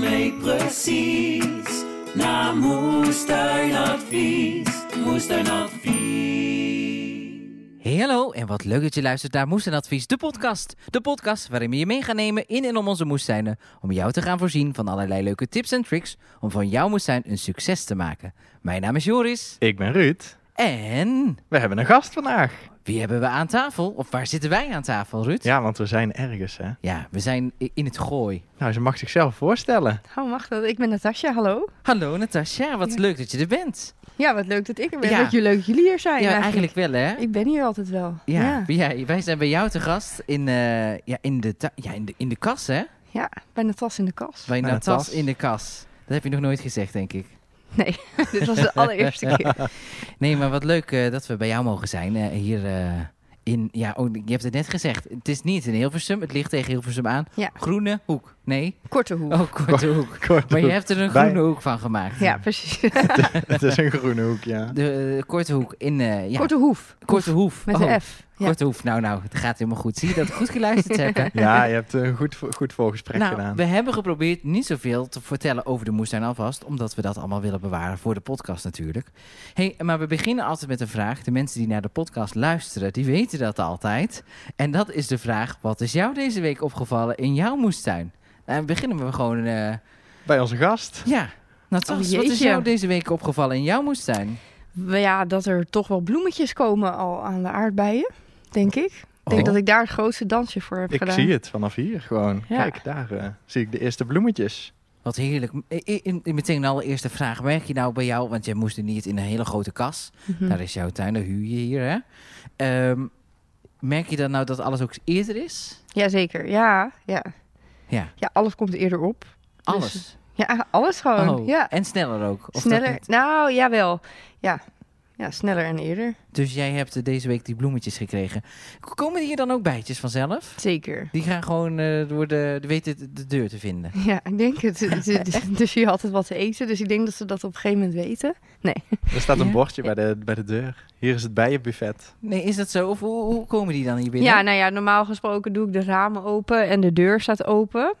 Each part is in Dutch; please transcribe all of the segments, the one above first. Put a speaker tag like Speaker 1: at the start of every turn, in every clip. Speaker 1: week precies naar moestuinadvies. Moestuinadvies.
Speaker 2: Hey, hallo en wat leuk dat je luistert naar Moestuinadvies, de podcast. De podcast waarin we je mee gaan nemen in en om onze moestuinen. Om jou te gaan voorzien van allerlei leuke tips en tricks om van jouw moestuin een succes te maken. Mijn naam is Joris.
Speaker 3: Ik ben Ruud.
Speaker 2: En
Speaker 3: We hebben een gast vandaag.
Speaker 2: wie hebben we aan tafel? Of waar zitten wij aan tafel, Ruud?
Speaker 3: Ja, want we zijn ergens, hè.
Speaker 2: Ja, we zijn i- in het gooi.
Speaker 3: Nou, ze mag zichzelf voorstellen.
Speaker 4: Oh, mag dat? Ik ben Natasja, hallo.
Speaker 2: Hallo Natasja, wat
Speaker 4: Ja.
Speaker 2: leuk dat je er bent.
Speaker 4: Ja, wat leuk dat ik er ben.
Speaker 2: Ja.
Speaker 4: Wat je- leuk dat jullie hier zijn.
Speaker 2: Ja, eigenlijk wel hè?
Speaker 4: Ik ben hier altijd wel.
Speaker 2: Ja,
Speaker 4: ja.
Speaker 2: ja, wij zijn bij jou te gast in, eh, ja, in, de, tu- ja, in, de, in de kas, hè?
Speaker 4: Ja, bij Natas in de kas.
Speaker 2: Bij
Speaker 3: Bij
Speaker 2: Natas
Speaker 3: Natas.
Speaker 2: in de kas. Dat heb je nog nooit gezegd, denk ik.
Speaker 4: Nee, dit was de allereerste keer.
Speaker 2: Nee, maar wat leuk eh, dat we bij jou mogen zijn. eh, hier eh, in, ja, oh, je hebt het net gezegd. Het is niet in Hilversum, het ligt tegen Hilversum aan.
Speaker 4: Ja.
Speaker 2: Groene hoek. Nee?
Speaker 4: Korte hoek.
Speaker 2: Oh, korte hoek.
Speaker 3: Korte
Speaker 2: Maar je
Speaker 3: hoek.
Speaker 2: hebt er een
Speaker 3: Bij-
Speaker 2: groene hoek van gemaakt.
Speaker 4: Ja, precies.
Speaker 3: Het is een groene hoek, ja.
Speaker 2: De eh, korte hoek in, eh, ja.
Speaker 4: Korte hoef.
Speaker 2: Korte hoef.
Speaker 4: Hoef Met
Speaker 2: Oh,
Speaker 4: een F. Ja.
Speaker 2: Korte hoef. Nou, nou, het gaat helemaal goed. Zie je dat we goed geluisterd hebben?
Speaker 3: Ja, je hebt een goed, vo- goed voorgesprek
Speaker 2: nou,
Speaker 3: gedaan.
Speaker 2: we hebben geprobeerd niet zoveel te vertellen over de moestuin alvast, omdat we dat allemaal willen bewaren voor de podcast natuurlijk. Hey, maar we beginnen altijd met een vraag. De mensen die naar de podcast luisteren, die weten dat altijd. En dat is de vraag, wat is jou deze week opgevallen in jouw moestuin? Nou, beginnen we gewoon, eh,
Speaker 3: Bij onze gast.
Speaker 2: ja, Natas,
Speaker 4: Oh,
Speaker 2: wat is
Speaker 4: jeetje.
Speaker 2: jou deze week opgevallen in jouw moestuin?
Speaker 4: Maar Ja, dat er toch wel bloemetjes komen al aan de aardbeien, denk ik. Ik denk
Speaker 2: Oh.
Speaker 4: dat ik daar het grootste dansje voor heb
Speaker 3: Ik
Speaker 4: gedaan.
Speaker 3: zie het vanaf hier gewoon.
Speaker 4: Ja.
Speaker 3: Kijk, daar eh, zie ik de eerste bloemetjes.
Speaker 2: Wat heerlijk. I- i- i- meteen een allereerste vraag. Merk je nou bij jou, want jij moest er niet in een hele grote kas.
Speaker 4: Mhm.
Speaker 2: Daar is jouw tuin, daar huur je hier, hè? Ehm, merk je dan nou dat alles ook eerder is?
Speaker 4: Jazeker, ja, ja.
Speaker 2: Ja.
Speaker 4: Ja, alles komt eerder op.
Speaker 2: Alles.
Speaker 4: Ja, alles gewoon.
Speaker 2: Oh,
Speaker 4: ja.
Speaker 2: En sneller ook. Of dat
Speaker 4: Sneller?
Speaker 2: niet?
Speaker 4: Nou, jawel. Ja. ja, sneller en eerder.
Speaker 2: Dus jij hebt eh, deze week die bloemetjes gekregen. K- Komen hier dan ook bijtjes vanzelf?
Speaker 4: Zeker.
Speaker 2: Die gaan gewoon eh, door de, de, weten de, de deur te vinden.
Speaker 4: Ja, ik denk het. Het- het- Dus hier altijd wat te eten. Dus ik denk dat ze dat op een gegeven moment weten.
Speaker 3: Er staat een
Speaker 2: Ja.
Speaker 3: bordje bij de, bij de deur. Hier is het bijenbuffet.
Speaker 2: Nee, is dat zo? Of hoe, hoe komen die dan hier binnen?
Speaker 4: Ja, nou ja, normaal gesproken doe ik de ramen open en de deur staat open.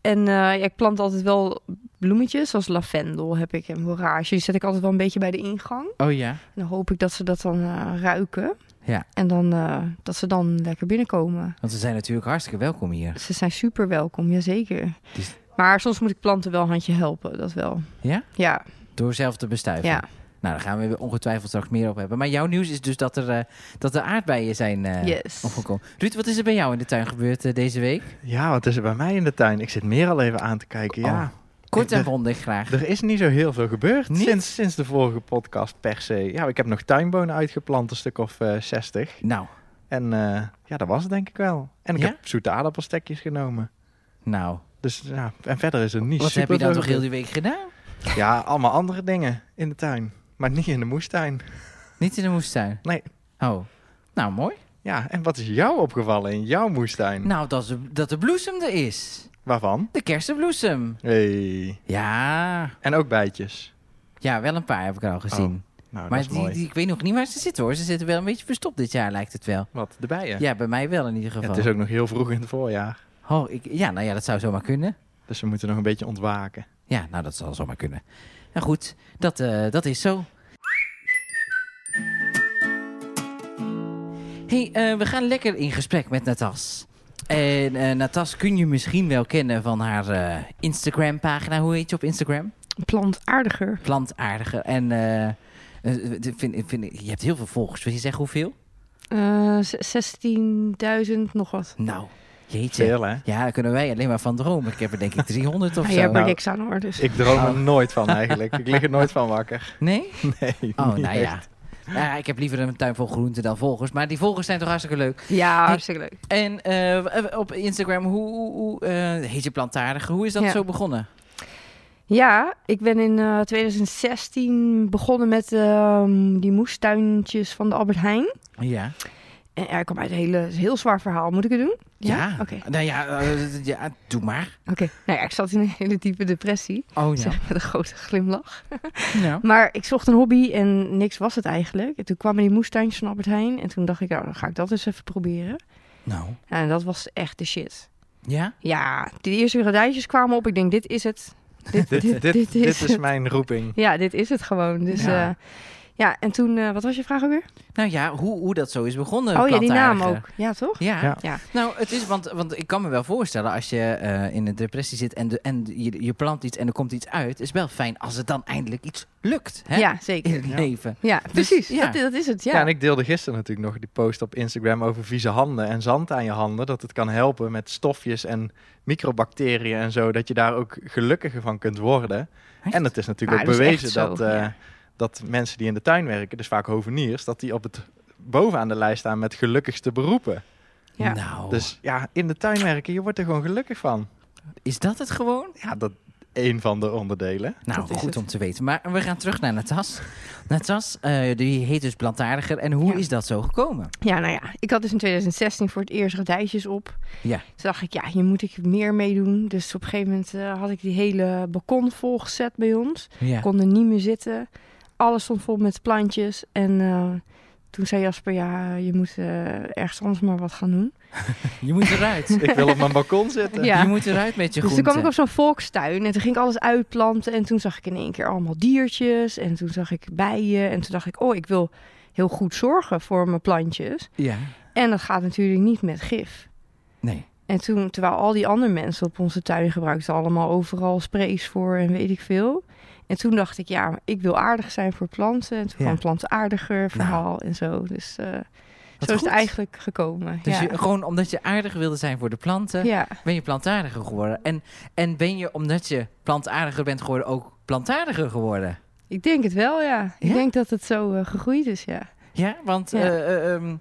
Speaker 4: En eh, ja, ik plant altijd wel bloemetjes, zoals lavendel heb ik en orage. Die zet ik altijd wel een beetje bij de ingang.
Speaker 2: Oh ja.
Speaker 4: En dan hoop ik dat ze dat dan eh, ruiken.
Speaker 2: Ja.
Speaker 4: En dan eh, dat ze dan lekker binnenkomen.
Speaker 2: Want ze zijn natuurlijk hartstikke welkom hier.
Speaker 4: Ze zijn super welkom, jazeker.
Speaker 2: Dus-
Speaker 4: Maar soms moet ik planten wel een handje helpen, dat wel.
Speaker 2: Ja?
Speaker 4: Ja,
Speaker 2: Door zelf te bestuiven.
Speaker 4: ja.
Speaker 2: Nou, daar gaan we ongetwijfeld straks meer op hebben. Maar jouw nieuws is dus dat er, eh, dat er aardbeien zijn eh,
Speaker 4: yes.
Speaker 2: opgekomen. Ruud, wat is er bij jou in de tuin gebeurd eh, deze week?
Speaker 3: Ja, wat is er bij mij in de tuin? Ik zit meer al even aan te kijken. Ja,
Speaker 2: Kort en
Speaker 3: Eh,
Speaker 2: bondig graag.
Speaker 3: er is niet zo heel veel gebeurd
Speaker 2: Oh. Niet?
Speaker 3: sinds, sinds de vorige podcast per se. Ja, ik heb nog tuinbonen uitgeplant, een stuk of eh 60.
Speaker 2: Nou,
Speaker 3: En eh, ja, dat was het denk ik wel. En ik
Speaker 2: Ja?
Speaker 3: heb zoete aardappelstekjes genomen.
Speaker 2: nou.
Speaker 3: Dus ja, en verder is het niet
Speaker 2: Wat heb
Speaker 3: super
Speaker 2: je dan
Speaker 3: veel
Speaker 2: toch heel die week gedaan?
Speaker 3: gebeurd. Ja, allemaal andere dingen in de tuin. Maar niet in de moestuin.
Speaker 2: Niet in de moestuin?
Speaker 3: Nee.
Speaker 2: Oh, nou mooi.
Speaker 3: Ja, en wat is jou opgevallen in jouw moestuin?
Speaker 2: Nou, dat, is- dat de bloesem er is.
Speaker 3: Waarvan?
Speaker 2: De kersenbloesem.
Speaker 3: Hey.
Speaker 2: Ja.
Speaker 3: En ook bijtjes.
Speaker 2: Ja, wel een paar heb ik er al gezien.
Speaker 3: Nou, dat
Speaker 2: maar
Speaker 3: is
Speaker 2: die,
Speaker 3: mooi.
Speaker 2: die, ik weet nog niet waar ze zitten hoor. Ze zitten wel een beetje verstopt dit jaar lijkt het wel.
Speaker 3: Wat, de bijen?
Speaker 2: Ja, bij mij wel in ieder
Speaker 3: Ja,
Speaker 2: geval.
Speaker 3: het is ook nog heel vroeg in het voorjaar.
Speaker 2: oh, ik, ja, nou ja, dat zou zomaar kunnen.
Speaker 3: Dus we moeten nog een beetje ontwaken.
Speaker 2: Ja, nou dat zal zomaar kunnen. Nou goed, dat, eh, dat is zo. hey, eh, we gaan lekker in gesprek met Natas. En eh, Natas kun je misschien wel kennen van haar eh, Instagram-pagina. Hoe heet je op Instagram?
Speaker 4: plantaardiger.
Speaker 2: Plantaardige. En eh, eh, de- vind, vind, ik- je hebt heel veel volgers. Wil je zeggen hoeveel?
Speaker 4: Eh, z- 16.000 nog wat.
Speaker 2: Nou, jeetje.
Speaker 3: Veel, hè?
Speaker 2: Ja, daar kunnen wij alleen maar van dromen. Ik heb er denk ik 300 of
Speaker 4: Maar jij Ah, hebt
Speaker 2: zo.
Speaker 4: er
Speaker 3: Nou,
Speaker 4: niks aan hoor, dus.
Speaker 3: Ik droom er
Speaker 2: Oh.
Speaker 3: nooit van eigenlijk. Ik lig er nooit van wakker.
Speaker 2: Nee?
Speaker 3: Nee.
Speaker 2: Oh,
Speaker 3: niet
Speaker 2: nou
Speaker 3: echt.
Speaker 2: ja. Nou ja, ik heb liever een tuin vol groenten dan volgers. Maar die volgers zijn toch hartstikke leuk.
Speaker 4: Ja, hartstikke leuk.
Speaker 2: En eh, op Instagram, hoe, hoe, hoe, eh, heet je plantaardige? Hoe is dat
Speaker 4: Ja.
Speaker 2: zo begonnen?
Speaker 4: Ja, ik ben in eh, 2016 begonnen met ehm, die moestuintjes van de Albert Heijn.
Speaker 2: Ja.
Speaker 4: En ja, ik kwam uit een hele, heel zwaar verhaal. Moet ik het doen? Oké. Oké.
Speaker 2: Nou ja, eh, ja, doe maar.
Speaker 4: Nou ja, ik zat in een hele diepe depressie.
Speaker 2: Oh Nou.
Speaker 4: Zeg, Met een grote glimlach.
Speaker 2: ja.
Speaker 4: Maar ik zocht een hobby en niks was het eigenlijk. En toen kwamen die moestuintjes van Albert Heijn. En toen dacht ik, nou, dan ga ik dat eens even proberen.
Speaker 2: Nou,
Speaker 4: Ja, en dat was echt de shit.
Speaker 2: Ja?
Speaker 4: Ja, die eerste radijtjes kwamen op. Ik denk, dit is het. Dit,
Speaker 3: Dit, dit, dit, is,
Speaker 4: het.
Speaker 3: mijn roeping.
Speaker 4: Ja, dit is het gewoon. Dus
Speaker 2: Ja.
Speaker 4: ja, ja en toen, eh, wat was je vraag ook weer?
Speaker 2: Nou ja, hoe, hoe dat zo is begonnen.
Speaker 4: oh ja, die naam
Speaker 2: plantaardige.
Speaker 4: ook. Ja, toch?
Speaker 2: Ja.
Speaker 3: Ja.
Speaker 4: Ja.
Speaker 2: Nou, het is, want, want ik kan me wel voorstellen als je eh, in een depressie zit en, de, en je, je plant iets en er komt iets uit, is wel fijn als het dan eindelijk iets lukt hè?
Speaker 4: Ja,
Speaker 2: in
Speaker 4: zeker.
Speaker 2: het
Speaker 3: Ja.
Speaker 2: leven.
Speaker 4: Ja, precies.
Speaker 2: ja.
Speaker 4: Dat, dat is het,
Speaker 3: Ja.
Speaker 4: ja.
Speaker 3: en ik deelde gisteren natuurlijk nog die post op Instagram over vieze handen en zand aan je handen. Dat het kan helpen met stofjes en microbacteriën en zo. Dat je daar ook gelukkiger van kunt worden.
Speaker 2: Echt?
Speaker 3: En het is natuurlijk
Speaker 4: Maar
Speaker 3: ook
Speaker 4: dat is echt
Speaker 3: bewezen
Speaker 4: zo,
Speaker 3: dat, eh,
Speaker 4: ja.
Speaker 3: dat mensen die in de tuin werken, dus vaak hoveniers, dat die op het bovenaan de lijst staan met gelukkigste beroepen.
Speaker 4: Ja.
Speaker 2: Nou,
Speaker 3: Dus ja, in de tuin werken, je wordt er gewoon gelukkig van.
Speaker 2: is dat het gewoon?
Speaker 3: Ja, dat één van de onderdelen.
Speaker 2: Nou,
Speaker 4: Dat is
Speaker 2: goed
Speaker 4: het.
Speaker 2: om te weten. Maar we gaan terug naar Natas. Natas, eh, die heet dus plantaardiger. En hoe
Speaker 4: Ja.
Speaker 2: is dat zo gekomen?
Speaker 4: Ja, nou ja, ik had dus in 2016 voor het eerst radijtjes op.
Speaker 2: Ja.
Speaker 4: Toen dacht ik, ja, hier moet ik meer mee doen. Dus op een gegeven moment eh, had ik die hele balkon volgezet bij ons.
Speaker 2: Ja.
Speaker 4: Konden niet meer zitten. Alles stond vol met plantjes. En eh, toen zei Jasper, ja, je moet eh, ergens anders maar wat gaan doen.
Speaker 2: Je moet eruit.
Speaker 3: Ik wil op mijn balkon zitten.
Speaker 4: Ja.
Speaker 2: Je moet eruit met je
Speaker 4: Dus
Speaker 2: groenten.
Speaker 4: toen kwam ik op zo'n volkstuin en toen ging ik alles uitplanten. En toen zag ik in één keer allemaal diertjes. En toen zag ik bijen. En toen dacht ik, oh, ik wil heel goed zorgen voor mijn plantjes.
Speaker 2: Ja,
Speaker 4: En dat gaat natuurlijk niet met gif.
Speaker 2: nee.
Speaker 4: En toen, terwijl al die andere mensen op onze tuin gebruikten allemaal overal sprays voor en weet ik veel. En toen dacht ik, ja, maar ik wil aardig zijn voor planten. En toen
Speaker 2: Ja. Nou.
Speaker 4: kwam plantaardiger verhaal en zo. Dus eh, zo is
Speaker 2: goed.
Speaker 4: het eigenlijk gekomen.
Speaker 2: Dus
Speaker 4: ja.
Speaker 2: je, eh, gewoon omdat je aardig wilde zijn voor de planten,
Speaker 4: ja.
Speaker 2: ben je plantaardiger geworden. En, en ben je, omdat je plantaardiger bent geworden, ook plantaardiger geworden?
Speaker 4: ik denk het wel, ja. Ik
Speaker 2: Ja?
Speaker 4: denk dat het zo eh, gegroeid is, ja.
Speaker 2: Ja, want
Speaker 4: Ja.
Speaker 2: eh, eh, ehm,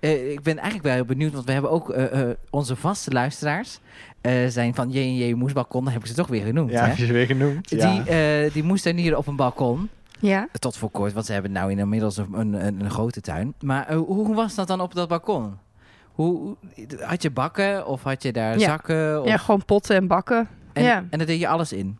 Speaker 2: eh, ik ben eigenlijk wel heel benieuwd, want we hebben ook eh, eh, onze vaste luisteraars eh, zijn van J&J Moesbalkon, daar heb ik ze toch weer genoemd.
Speaker 3: Ja,
Speaker 2: hè?
Speaker 3: heb je ze weer genoemd. Ja.
Speaker 2: Die, eh die moestuinieren op een balkon.
Speaker 4: Ja.
Speaker 2: Tot voor kort, want ze hebben nou inmiddels een, een, een, een grote tuin. Maar eh, hoe, hoe was dat dan op dat balkon? Hoe, had je bakken of had je daar
Speaker 4: Ja.
Speaker 2: zakken? Of,
Speaker 4: Ja, gewoon potten en bakken.
Speaker 2: en,
Speaker 4: ja.
Speaker 2: en daar deed je alles in.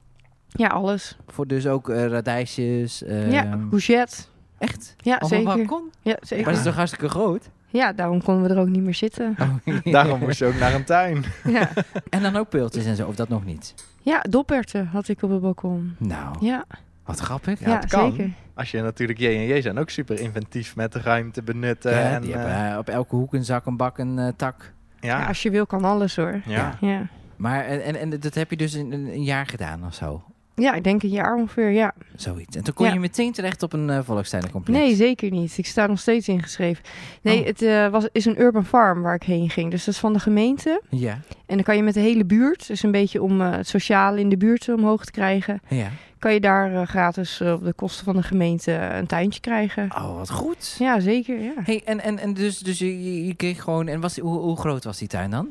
Speaker 4: Ja, alles.
Speaker 2: Voor dus ook eh, radijsjes. eh,
Speaker 4: ja, courgette.
Speaker 2: Echt?
Speaker 4: Ja,
Speaker 2: op
Speaker 4: zeker.
Speaker 2: een balkon?
Speaker 4: Ja,
Speaker 2: Maar
Speaker 4: zeker.
Speaker 2: dat is toch hartstikke groot?
Speaker 4: Ja, daarom konden we er ook niet meer zitten.
Speaker 3: Daarom moest je ook naar een tuin.
Speaker 4: Ja,
Speaker 2: En dan ook peeltjes en zo, of dat nog niet?
Speaker 4: ja doperten had ik op het balkon.
Speaker 2: Nou,
Speaker 4: Ja,
Speaker 2: wat grappig.
Speaker 3: Ja,
Speaker 4: ja,
Speaker 3: het kan.
Speaker 4: zeker.
Speaker 3: Als je natuurlijk J&J zijn ook super inventief met de ruimte benutten.
Speaker 2: Ja,
Speaker 3: en,
Speaker 2: die
Speaker 3: eh,
Speaker 2: hebben eh, op elke hoek een zak, een bak, een eh, tak.
Speaker 3: ja.
Speaker 4: Ja, als je wil kan alles hoor.
Speaker 3: Ja.
Speaker 4: Ja.
Speaker 2: Maar en, en, en dat heb je dus in een, een jaar gedaan of zo.
Speaker 4: ja, ik denk een jaar ongeveer, ja.
Speaker 2: Zoiets. En toen kon
Speaker 4: Ja.
Speaker 2: je meteen terecht op een eh volkstuinencomplex.
Speaker 4: Nee, zeker niet. Ik sta nog steeds ingeschreven. Nee,
Speaker 2: Oh.
Speaker 4: het eh, was, is een urban farm waar ik heen ging. Dus dat is van de gemeente.
Speaker 2: Ja,
Speaker 4: En dan kan je met de hele buurt, dus een beetje om eh, het sociale in de buurt omhoog te krijgen,
Speaker 2: ja.
Speaker 4: kan je daar eh, gratis eh, op de kosten van de gemeente een tuintje krijgen.
Speaker 2: Oh, wat goed.
Speaker 4: Ja, zeker. Ja.
Speaker 2: Hey, en, en, en dus, dus je, je- je kreeg gewoon... En was, hoe, hoe groot was die tuin dan?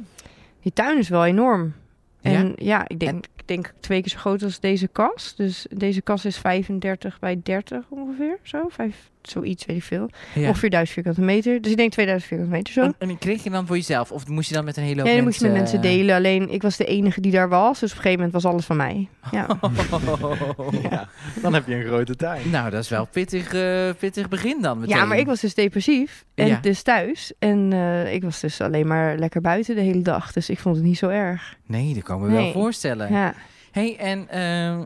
Speaker 4: Die tuin is wel enorm.
Speaker 2: Ja?
Speaker 4: En ja, ik, denk, ik denk twee keer zo groot als deze kast. Dus deze kast is 35 bij 30 ongeveer. Zo, vijf, zoiets, weet ik veel.
Speaker 2: Ja.
Speaker 4: Ongeveer 1000 vierkante meter. Dus ik denk 2000 vierkante meter zo.
Speaker 2: en, en die kreeg je dan voor jezelf? Of moest je dan met een hele hoop
Speaker 4: ja, dan moest je
Speaker 2: mensen...
Speaker 4: met mensen delen. Alleen ik was de enige die daar was. Dus op een gegeven moment was alles van mij. Ja,
Speaker 3: Ja, Dan heb je een grote tuin.
Speaker 2: Nou, dat is wel pittig, eh, pittig begin dan meteen.
Speaker 4: ja maar ik was dus depressief. En
Speaker 2: Ja.
Speaker 4: dus thuis. En eh, ik was dus alleen maar lekker buiten de hele dag. Dus ik vond het niet zo erg.
Speaker 2: Nee, dat kan ik me wel
Speaker 4: Nee.
Speaker 2: voorstellen.
Speaker 4: Ja.
Speaker 2: Hey, en ehm,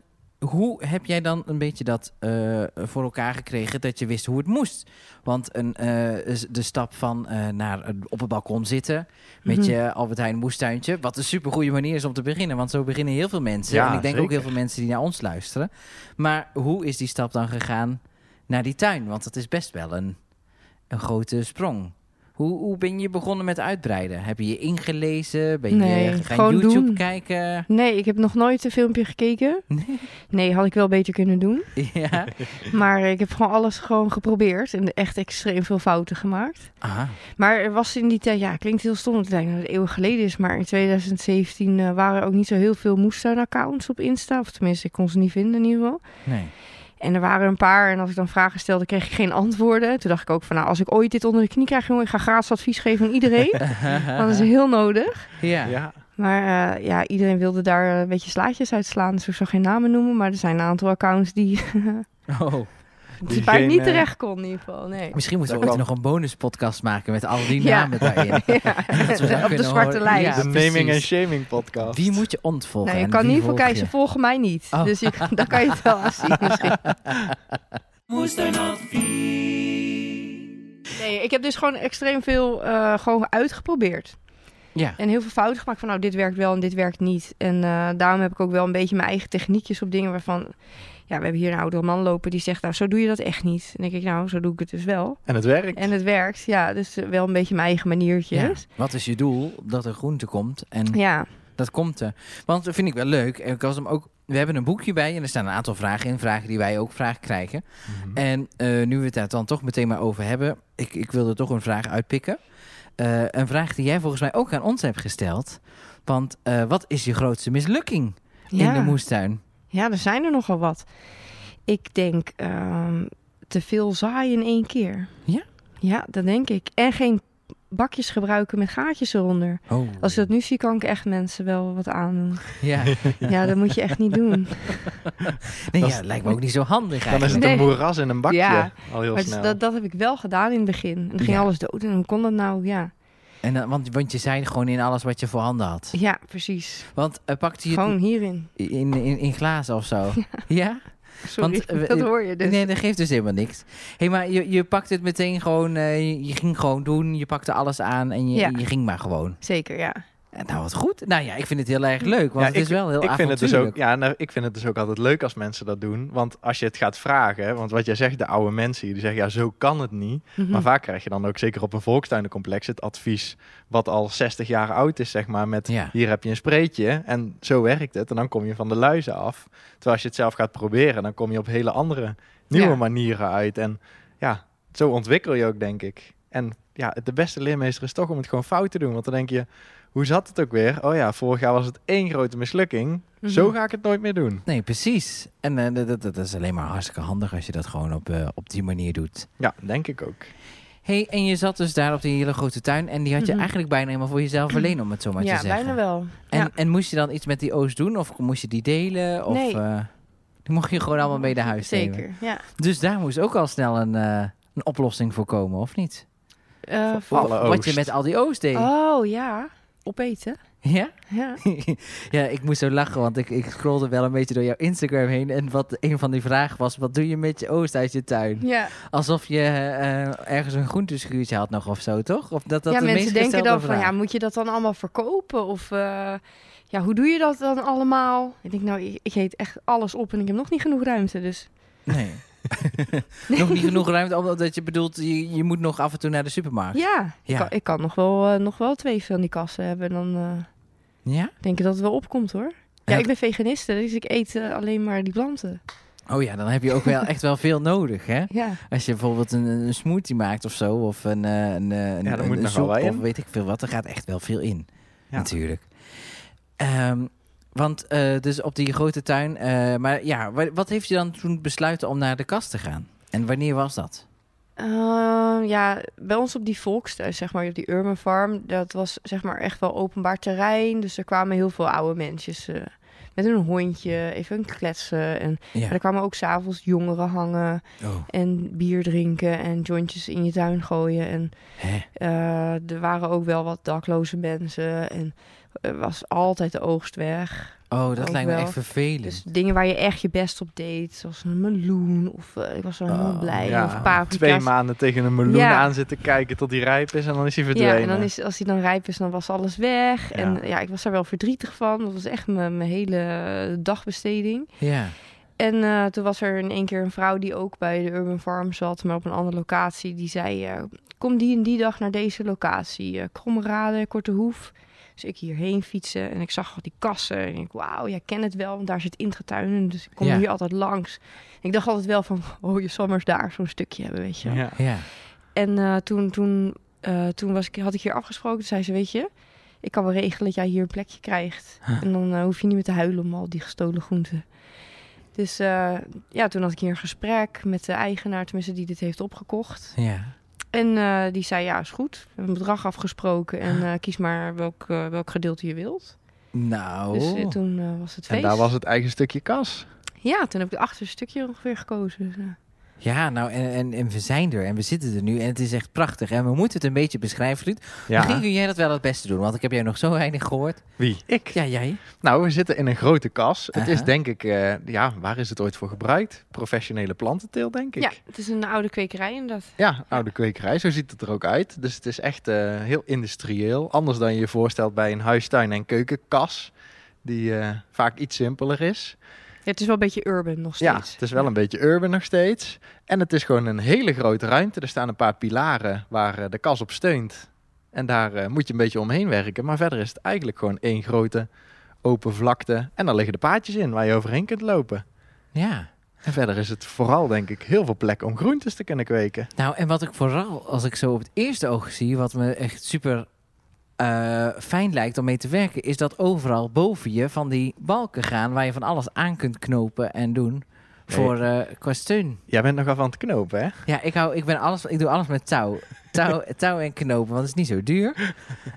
Speaker 2: hoe heb jij dan een beetje dat eh, voor elkaar gekregen dat je wist hoe het moest? Want een, eh, is de stap van eh, naar een- op het balkon zitten met
Speaker 4: Mhm.
Speaker 2: je Albert Heijn moestuintje, wat een supergoeie manier is om te beginnen, want zo beginnen heel veel mensen.
Speaker 3: Ja,
Speaker 2: en ik denk ook
Speaker 3: zeker.
Speaker 2: heel veel mensen die naar ons luisteren. Maar hoe is die stap dan gegaan naar die tuin? Want dat is best wel een, een grote sprong. Hoe, hoe ben je begonnen met uitbreiden? Heb je je ingelezen? Ben je
Speaker 4: Nee,
Speaker 2: gaan
Speaker 4: gewoon
Speaker 2: YouTube
Speaker 4: doen.
Speaker 2: kijken?
Speaker 4: Nee, ik heb nog nooit een filmpje gekeken.
Speaker 2: Nee.
Speaker 4: Nee, had ik wel beter kunnen doen.
Speaker 2: Ja.
Speaker 4: Maar ik heb gewoon alles gewoon geprobeerd en echt extreem veel fouten gemaakt.
Speaker 2: Aha.
Speaker 4: Maar er was in die tijd, ja, klinkt heel stom, want het lijkt dat het eeuwen geleden is. Maar in 2017 eh, waren er ook niet zo heel veel moestuinaccounts op Insta. Of tenminste, ik kon ze niet vinden in ieder geval.
Speaker 2: Nee.
Speaker 4: En er waren een paar en als ik dan vragen stelde, kreeg ik geen antwoorden. Toen dacht ik ook van, nou, als ik ooit dit onder de knie krijg, jongen, ik ga gratis advies geven aan iedereen. Want dat is heel nodig.
Speaker 2: ja.
Speaker 3: Ja.
Speaker 4: Maar eh, ja, iedereen wilde daar eh, een beetje slaatjes uitslaan. Dus ik zou geen namen noemen, maar er zijn een aantal accounts die
Speaker 2: Oh.
Speaker 4: Dus waar ik
Speaker 3: geen,
Speaker 4: niet
Speaker 3: eh,
Speaker 4: terecht kon in ieder geval, nee.
Speaker 2: Misschien moeten we
Speaker 3: Dat
Speaker 2: ooit nog
Speaker 3: kan.
Speaker 2: een bonuspodcast maken met al die
Speaker 4: Ja.
Speaker 2: namen daarin.
Speaker 4: Ja.
Speaker 2: Dat we dan
Speaker 4: Op de
Speaker 2: kunnen
Speaker 4: zwarte
Speaker 2: horen-
Speaker 4: lijst.
Speaker 2: Ja,
Speaker 3: de naming en
Speaker 2: precies.
Speaker 3: shaming podcast.
Speaker 2: Wie moet je ontvolgen?
Speaker 4: Nou, je
Speaker 2: en
Speaker 4: kan
Speaker 2: wie
Speaker 4: niet voor
Speaker 2: volg je?
Speaker 4: kijken, ze volgen mij niet.
Speaker 2: Oh.
Speaker 4: Dus je, dan kan je het wel afzien misschien.
Speaker 1: Moestuinadvies.
Speaker 4: Nee, ik heb dus gewoon extreem veel eh, gewoon uitgeprobeerd.
Speaker 2: Ja.
Speaker 4: En heel veel fouten gemaakt van nou, dit werkt wel en dit werkt niet. En eh, daarom heb ik ook wel een beetje mijn eigen techniekjes op dingen waarvan... Ja, we hebben hier een oudere man lopen die zegt, nou, zo doe je dat echt niet. En dan denk ik, nou, zo doe ik het dus wel.
Speaker 3: En het werkt.
Speaker 4: En het werkt, ja. Dus eh, wel een beetje mijn eigen
Speaker 2: Ja.
Speaker 4: maniertjes.
Speaker 2: Wat is je doel? Dat er groente komt. En
Speaker 4: Ja,
Speaker 2: dat komt er. Want dat vind ik wel leuk. Ik was hem ook, we hebben een boekje bij en er staan een aantal vragen in. Vragen die wij ook vragen krijgen.
Speaker 3: Mhm.
Speaker 2: En eh, nu we het daar dan toch meteen maar over hebben. Ik, ik wil er toch een vraag uitpikken. Eh, een vraag die jij volgens mij ook aan ons hebt gesteld. Want eh, wat is je grootste mislukking
Speaker 4: ja.
Speaker 2: in de moestuin?
Speaker 4: ja, er zijn er nogal wat. Ik denk ehm, te veel zaaien in één keer.
Speaker 2: Ja?
Speaker 4: Ja, dat denk ik. En geen bakjes gebruiken met gaatjes eronder.
Speaker 2: Oh.
Speaker 4: Als ik dat nu zie, kan ik echt mensen wel wat aan.
Speaker 2: Ja,
Speaker 4: Ja, dat moet je echt niet doen.
Speaker 2: nee,
Speaker 3: Dat
Speaker 2: ja
Speaker 3: is-
Speaker 2: dat lijkt me ook niet zo handig
Speaker 3: Dan is
Speaker 2: eigenlijk.
Speaker 3: het
Speaker 4: Nee.
Speaker 3: een moeras in een bakje.
Speaker 4: Ja,
Speaker 3: Al heel
Speaker 4: Maar het is-
Speaker 3: snel.
Speaker 4: dat, dat heb ik wel gedaan in het begin. En dan ging
Speaker 2: Ja.
Speaker 4: alles dood. En hoe kon dat nou? Ja,
Speaker 2: En dan, want, want je zei gewoon in alles wat je voorhanden had.
Speaker 4: ja precies.
Speaker 2: Want eh, pakte je het
Speaker 4: Gewoon hierin.
Speaker 2: in, in, in glazen of zo? ja?
Speaker 4: Sorry,
Speaker 2: Want, eh, we-
Speaker 4: dat hoor je dus.
Speaker 2: Nee, dat geeft dus helemaal niks. hey, maar je, je pakte het meteen gewoon, eh, je- je ging gewoon doen, je pakte alles aan en je,
Speaker 4: Ja.
Speaker 2: je ging maar gewoon.
Speaker 4: Zeker, ja.
Speaker 2: En nou, wat goed. Nou ja, ik vind het heel erg leuk, want
Speaker 3: Ja,
Speaker 2: het
Speaker 3: ik-
Speaker 2: is wel heel
Speaker 3: ik vind, het dus ook,
Speaker 2: avontuurlijk.
Speaker 3: ja, nou, ik vind het dus ook altijd leuk als mensen dat doen. Want als je het gaat vragen, hè, want wat jij zegt, de oude mensen hier, die zeggen ja, zo kan het niet.
Speaker 4: Mhm.
Speaker 3: Maar vaak krijg je dan ook zeker op een volkstuinencomplex het advies wat al 60 jaar oud is, zeg maar, met
Speaker 2: Ja.
Speaker 3: hier heb je een spreetje en zo werkt het. En dan kom je van de luizen af. Terwijl als je het zelf gaat proberen, dan kom je op hele andere, nieuwe
Speaker 4: Ja.
Speaker 3: manieren uit. En ja, zo ontwikkel je ook, denk ik. En ja, het- de beste leermeester is toch om het gewoon fout te doen. Want dan denk je, hoe zat het ook weer? Oh ja, vorig jaar was het één grote mislukking.
Speaker 4: Mhm.
Speaker 3: Zo ga ik het nooit meer doen.
Speaker 2: Nee, precies. En eh, dat, dat, dat is alleen maar hartstikke handig als je dat gewoon op, eh, op die manier doet.
Speaker 3: Ja, denk ik ook.
Speaker 2: hey, en je zat dus daar op die hele grote tuin en die had je
Speaker 4: Mhm. eigenlijk
Speaker 2: eigenlijk bijna helemaal voor jezelf alleen, om het zo maar
Speaker 4: ja,
Speaker 2: te zeggen.
Speaker 4: bijna wel.
Speaker 2: En,
Speaker 4: Ja.
Speaker 2: en moest je dan iets met die oost doen of moest je die delen? Of,
Speaker 4: Nee.
Speaker 2: eh, die mocht je gewoon allemaal mee naar huis nemen.
Speaker 4: Zeker, ja.
Speaker 2: Dus daar moest ook al snel een, eh, een oplossing voor komen, of niet?
Speaker 4: Eh,
Speaker 3: Voor-
Speaker 4: voor-
Speaker 3: Alle
Speaker 2: Of Wat
Speaker 3: oost.
Speaker 2: je met al die oost deed.
Speaker 4: Oh ja, opeten.
Speaker 2: Ja?
Speaker 4: Ja.
Speaker 2: ja, ik moest zo lachen, want ik, ik scrolde wel een beetje door jouw Instagram heen. En wat een van die vragen was, wat doe je met je oost uit je tuin?
Speaker 4: Ja,
Speaker 2: Alsof je eh, ergens een groenteschuurtje had nog of zo, toch? Of dat, dat
Speaker 4: ja
Speaker 2: de
Speaker 4: mensen
Speaker 2: meest
Speaker 4: denken
Speaker 2: gestelde
Speaker 4: dan van,
Speaker 2: vraag.
Speaker 4: ja, moet je dat dan allemaal verkopen? Of eh, ja, hoe doe je dat dan allemaal? Ik denk, nou, ik, ik eet echt alles op en ik heb nog niet genoeg ruimte. Dus
Speaker 2: Nee. nog niet genoeg ruimte, omdat je bedoelt, je, je moet nog af en toe naar de supermarkt.
Speaker 4: ja,
Speaker 2: Ja.
Speaker 4: Ik, kan, ik kan nog, wel, eh, nog wel twee van die kassen hebben. Dan eh,
Speaker 2: Ja?
Speaker 4: denk ik dat het wel opkomt hoor. Ja,
Speaker 2: Ja,
Speaker 4: ik ben veganiste, dus ik eet eh, alleen maar die planten.
Speaker 2: Oh ja, dan heb je ook wel echt wel veel nodig, hè?
Speaker 4: Ja,
Speaker 2: Als je bijvoorbeeld een, een smoothie maakt of zo, of een, eh, een, eh, een,
Speaker 3: Ja, daar
Speaker 2: een-
Speaker 3: moet
Speaker 2: een
Speaker 3: nogal
Speaker 2: soep
Speaker 3: wat in.
Speaker 2: of weet ik veel wat, er gaat echt wel veel in,
Speaker 3: Ja.
Speaker 2: natuurlijk. Ehm, want eh, dus op die grote tuin, eh, maar ja, wa- wat heeft je dan toen besluiten om naar de kast te gaan? En wanneer was dat?
Speaker 4: Eh, ja, bij ons op die volkstuin, zeg maar, op die Urban Farm, dat was zeg maar echt wel openbaar terrein. Dus er kwamen heel veel oude mensen eh, met hun hondje, even kletsen. En
Speaker 2: Ja.
Speaker 4: maar er kwamen ook s'avonds jongeren hangen
Speaker 2: Oh.
Speaker 4: en bier drinken en jointjes in je tuin gooien. En
Speaker 2: Hè?
Speaker 4: eh, er waren ook wel wat dakloze mensen en er was altijd de oogst weg.
Speaker 2: Oh, dat
Speaker 4: Ook
Speaker 2: lijkt me
Speaker 4: wel.
Speaker 2: echt vervelend.
Speaker 4: Dus dingen waar je echt je best op deed, zoals een meloen of eh, ik was zo heel
Speaker 2: Oh,
Speaker 4: blij,
Speaker 3: Ja,
Speaker 4: of paprika's.
Speaker 3: Twee maanden tegen een meloen
Speaker 4: Ja.
Speaker 3: aan zitten kijken tot die rijp is en dan is hij verdwenen.
Speaker 4: Ja, en dan is, als hij dan rijp is, dan was alles weg.
Speaker 3: Ja.
Speaker 4: En ja, ik was daar wel verdrietig van. Dat was echt mijn, mijn hele dagbesteding.
Speaker 2: Ja.
Speaker 4: En eh, toen was er in één keer een vrouw die ook bij de Urban Farm zat, maar op een andere locatie. Die zei, eh, kom die en die dag naar deze locatie. eh Kromrade, Korte Hoef. Dus ik hierheen fietsen en ik zag al die kassen. En ik, wauw, jij kent het wel, want daar zit ingetuinen. Dus ik kom
Speaker 2: Ja.
Speaker 4: hier altijd langs. En ik dacht altijd wel van, oh, je zal maar eens daar zo'n stukje hebben, weet je wel.
Speaker 3: Ja.
Speaker 2: Ja.
Speaker 4: En eh, toen, toen, eh, toen was ik, had ik hier afgesproken. Toen zei ze, weet je, ik kan wel regelen dat jij hier een plekje krijgt. En dan eh, hoef je niet meer te huilen om al die gestolen groenten. Dus eh, ja, toen had ik hier een gesprek met de eigenaar, tenminste die dit heeft opgekocht.
Speaker 2: Ja.
Speaker 4: En eh, die zei, ja, is goed. We hebben een bedrag afgesproken en eh, kies maar welk, eh, welk gedeelte je wilt.
Speaker 2: Nou.
Speaker 4: Dus eh, toen eh, was het feest.
Speaker 3: En daar was het eigen stukje kas.
Speaker 4: Ja, toen heb ik het achterstukje ongeveer gekozen. Dus, eh,
Speaker 2: Ja, nou, en, en, en we zijn er en we zitten er nu en het is echt prachtig. En we moeten het een beetje beschrijven, Ruud. Misschien
Speaker 3: Ja.
Speaker 2: kun jij dat wel het beste doen, want ik heb jij nog zo weinig gehoord.
Speaker 3: Wie? Ik.
Speaker 2: Ja, jij.
Speaker 3: Nou, we zitten in een grote kas. Het
Speaker 2: Aha.
Speaker 3: is denk ik, eh, ja, waar is het ooit voor gebruikt? Professionele plantenteel, denk ik.
Speaker 4: Ja, het is een oude kwekerij inderdaad.
Speaker 3: Ja, oude kwekerij, zo ziet het er ook uit. Dus het is echt eh, heel industrieel. Anders dan je je voorstelt bij een huistuin- en keukenkas, die eh, vaak iets simpeler is.
Speaker 4: Ja, het is wel een beetje urban nog
Speaker 3: Ja,
Speaker 4: steeds.
Speaker 3: het is wel een beetje urban nog steeds. En het is gewoon een hele grote ruimte. Er staan een paar pilaren waar eh, de kas op steunt. En daar eh, moet je een beetje omheen werken. Maar verder is het eigenlijk gewoon één grote open vlakte. En daar liggen de paadjes in waar je overheen kunt lopen.
Speaker 2: Ja.
Speaker 3: En verder is het vooral, denk ik, heel veel plek om groentes te kunnen kweken.
Speaker 2: Nou, en wat ik vooral, als ik zo op het eerste oog zie, wat me echt super eh, fijn lijkt om mee te werken, is dat overal boven je van die balken gaan waar je van alles aan kunt knopen en doen voor eh qua steun.
Speaker 3: Jij bent nogal van het knopen, hè?
Speaker 2: Ja, ik, hou, ik, ben alles, ik doe alles met touw. touw. Touw en knopen, want het is niet zo duur.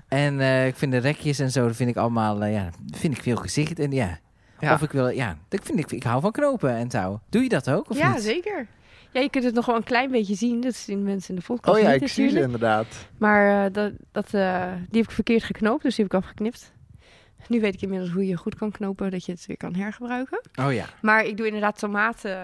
Speaker 2: En eh, ik vind de rekjes en zo, dat vind ik allemaal, eh, ja, vind ik veel gezicht. En ja,
Speaker 3: Ja.
Speaker 2: of ik wil, ja, ik, vind, ik, ik hou van knopen en touw. Doe je dat ook? Of
Speaker 4: ja,
Speaker 2: niet?
Speaker 4: zeker. Ja, je kunt het nog wel een klein beetje zien. Dat zien mensen in de podcast
Speaker 3: Oh ja,
Speaker 4: niet
Speaker 3: ik zie ze
Speaker 4: natuurlijk.
Speaker 3: inderdaad.
Speaker 4: Maar eh, dat, dat, eh, die heb ik verkeerd geknoopt, dus die heb ik afgeknipt. Nu weet ik inmiddels hoe je goed kan knopen, dat je het weer kan hergebruiken.
Speaker 2: Oh ja.
Speaker 4: Maar ik doe inderdaad tomaten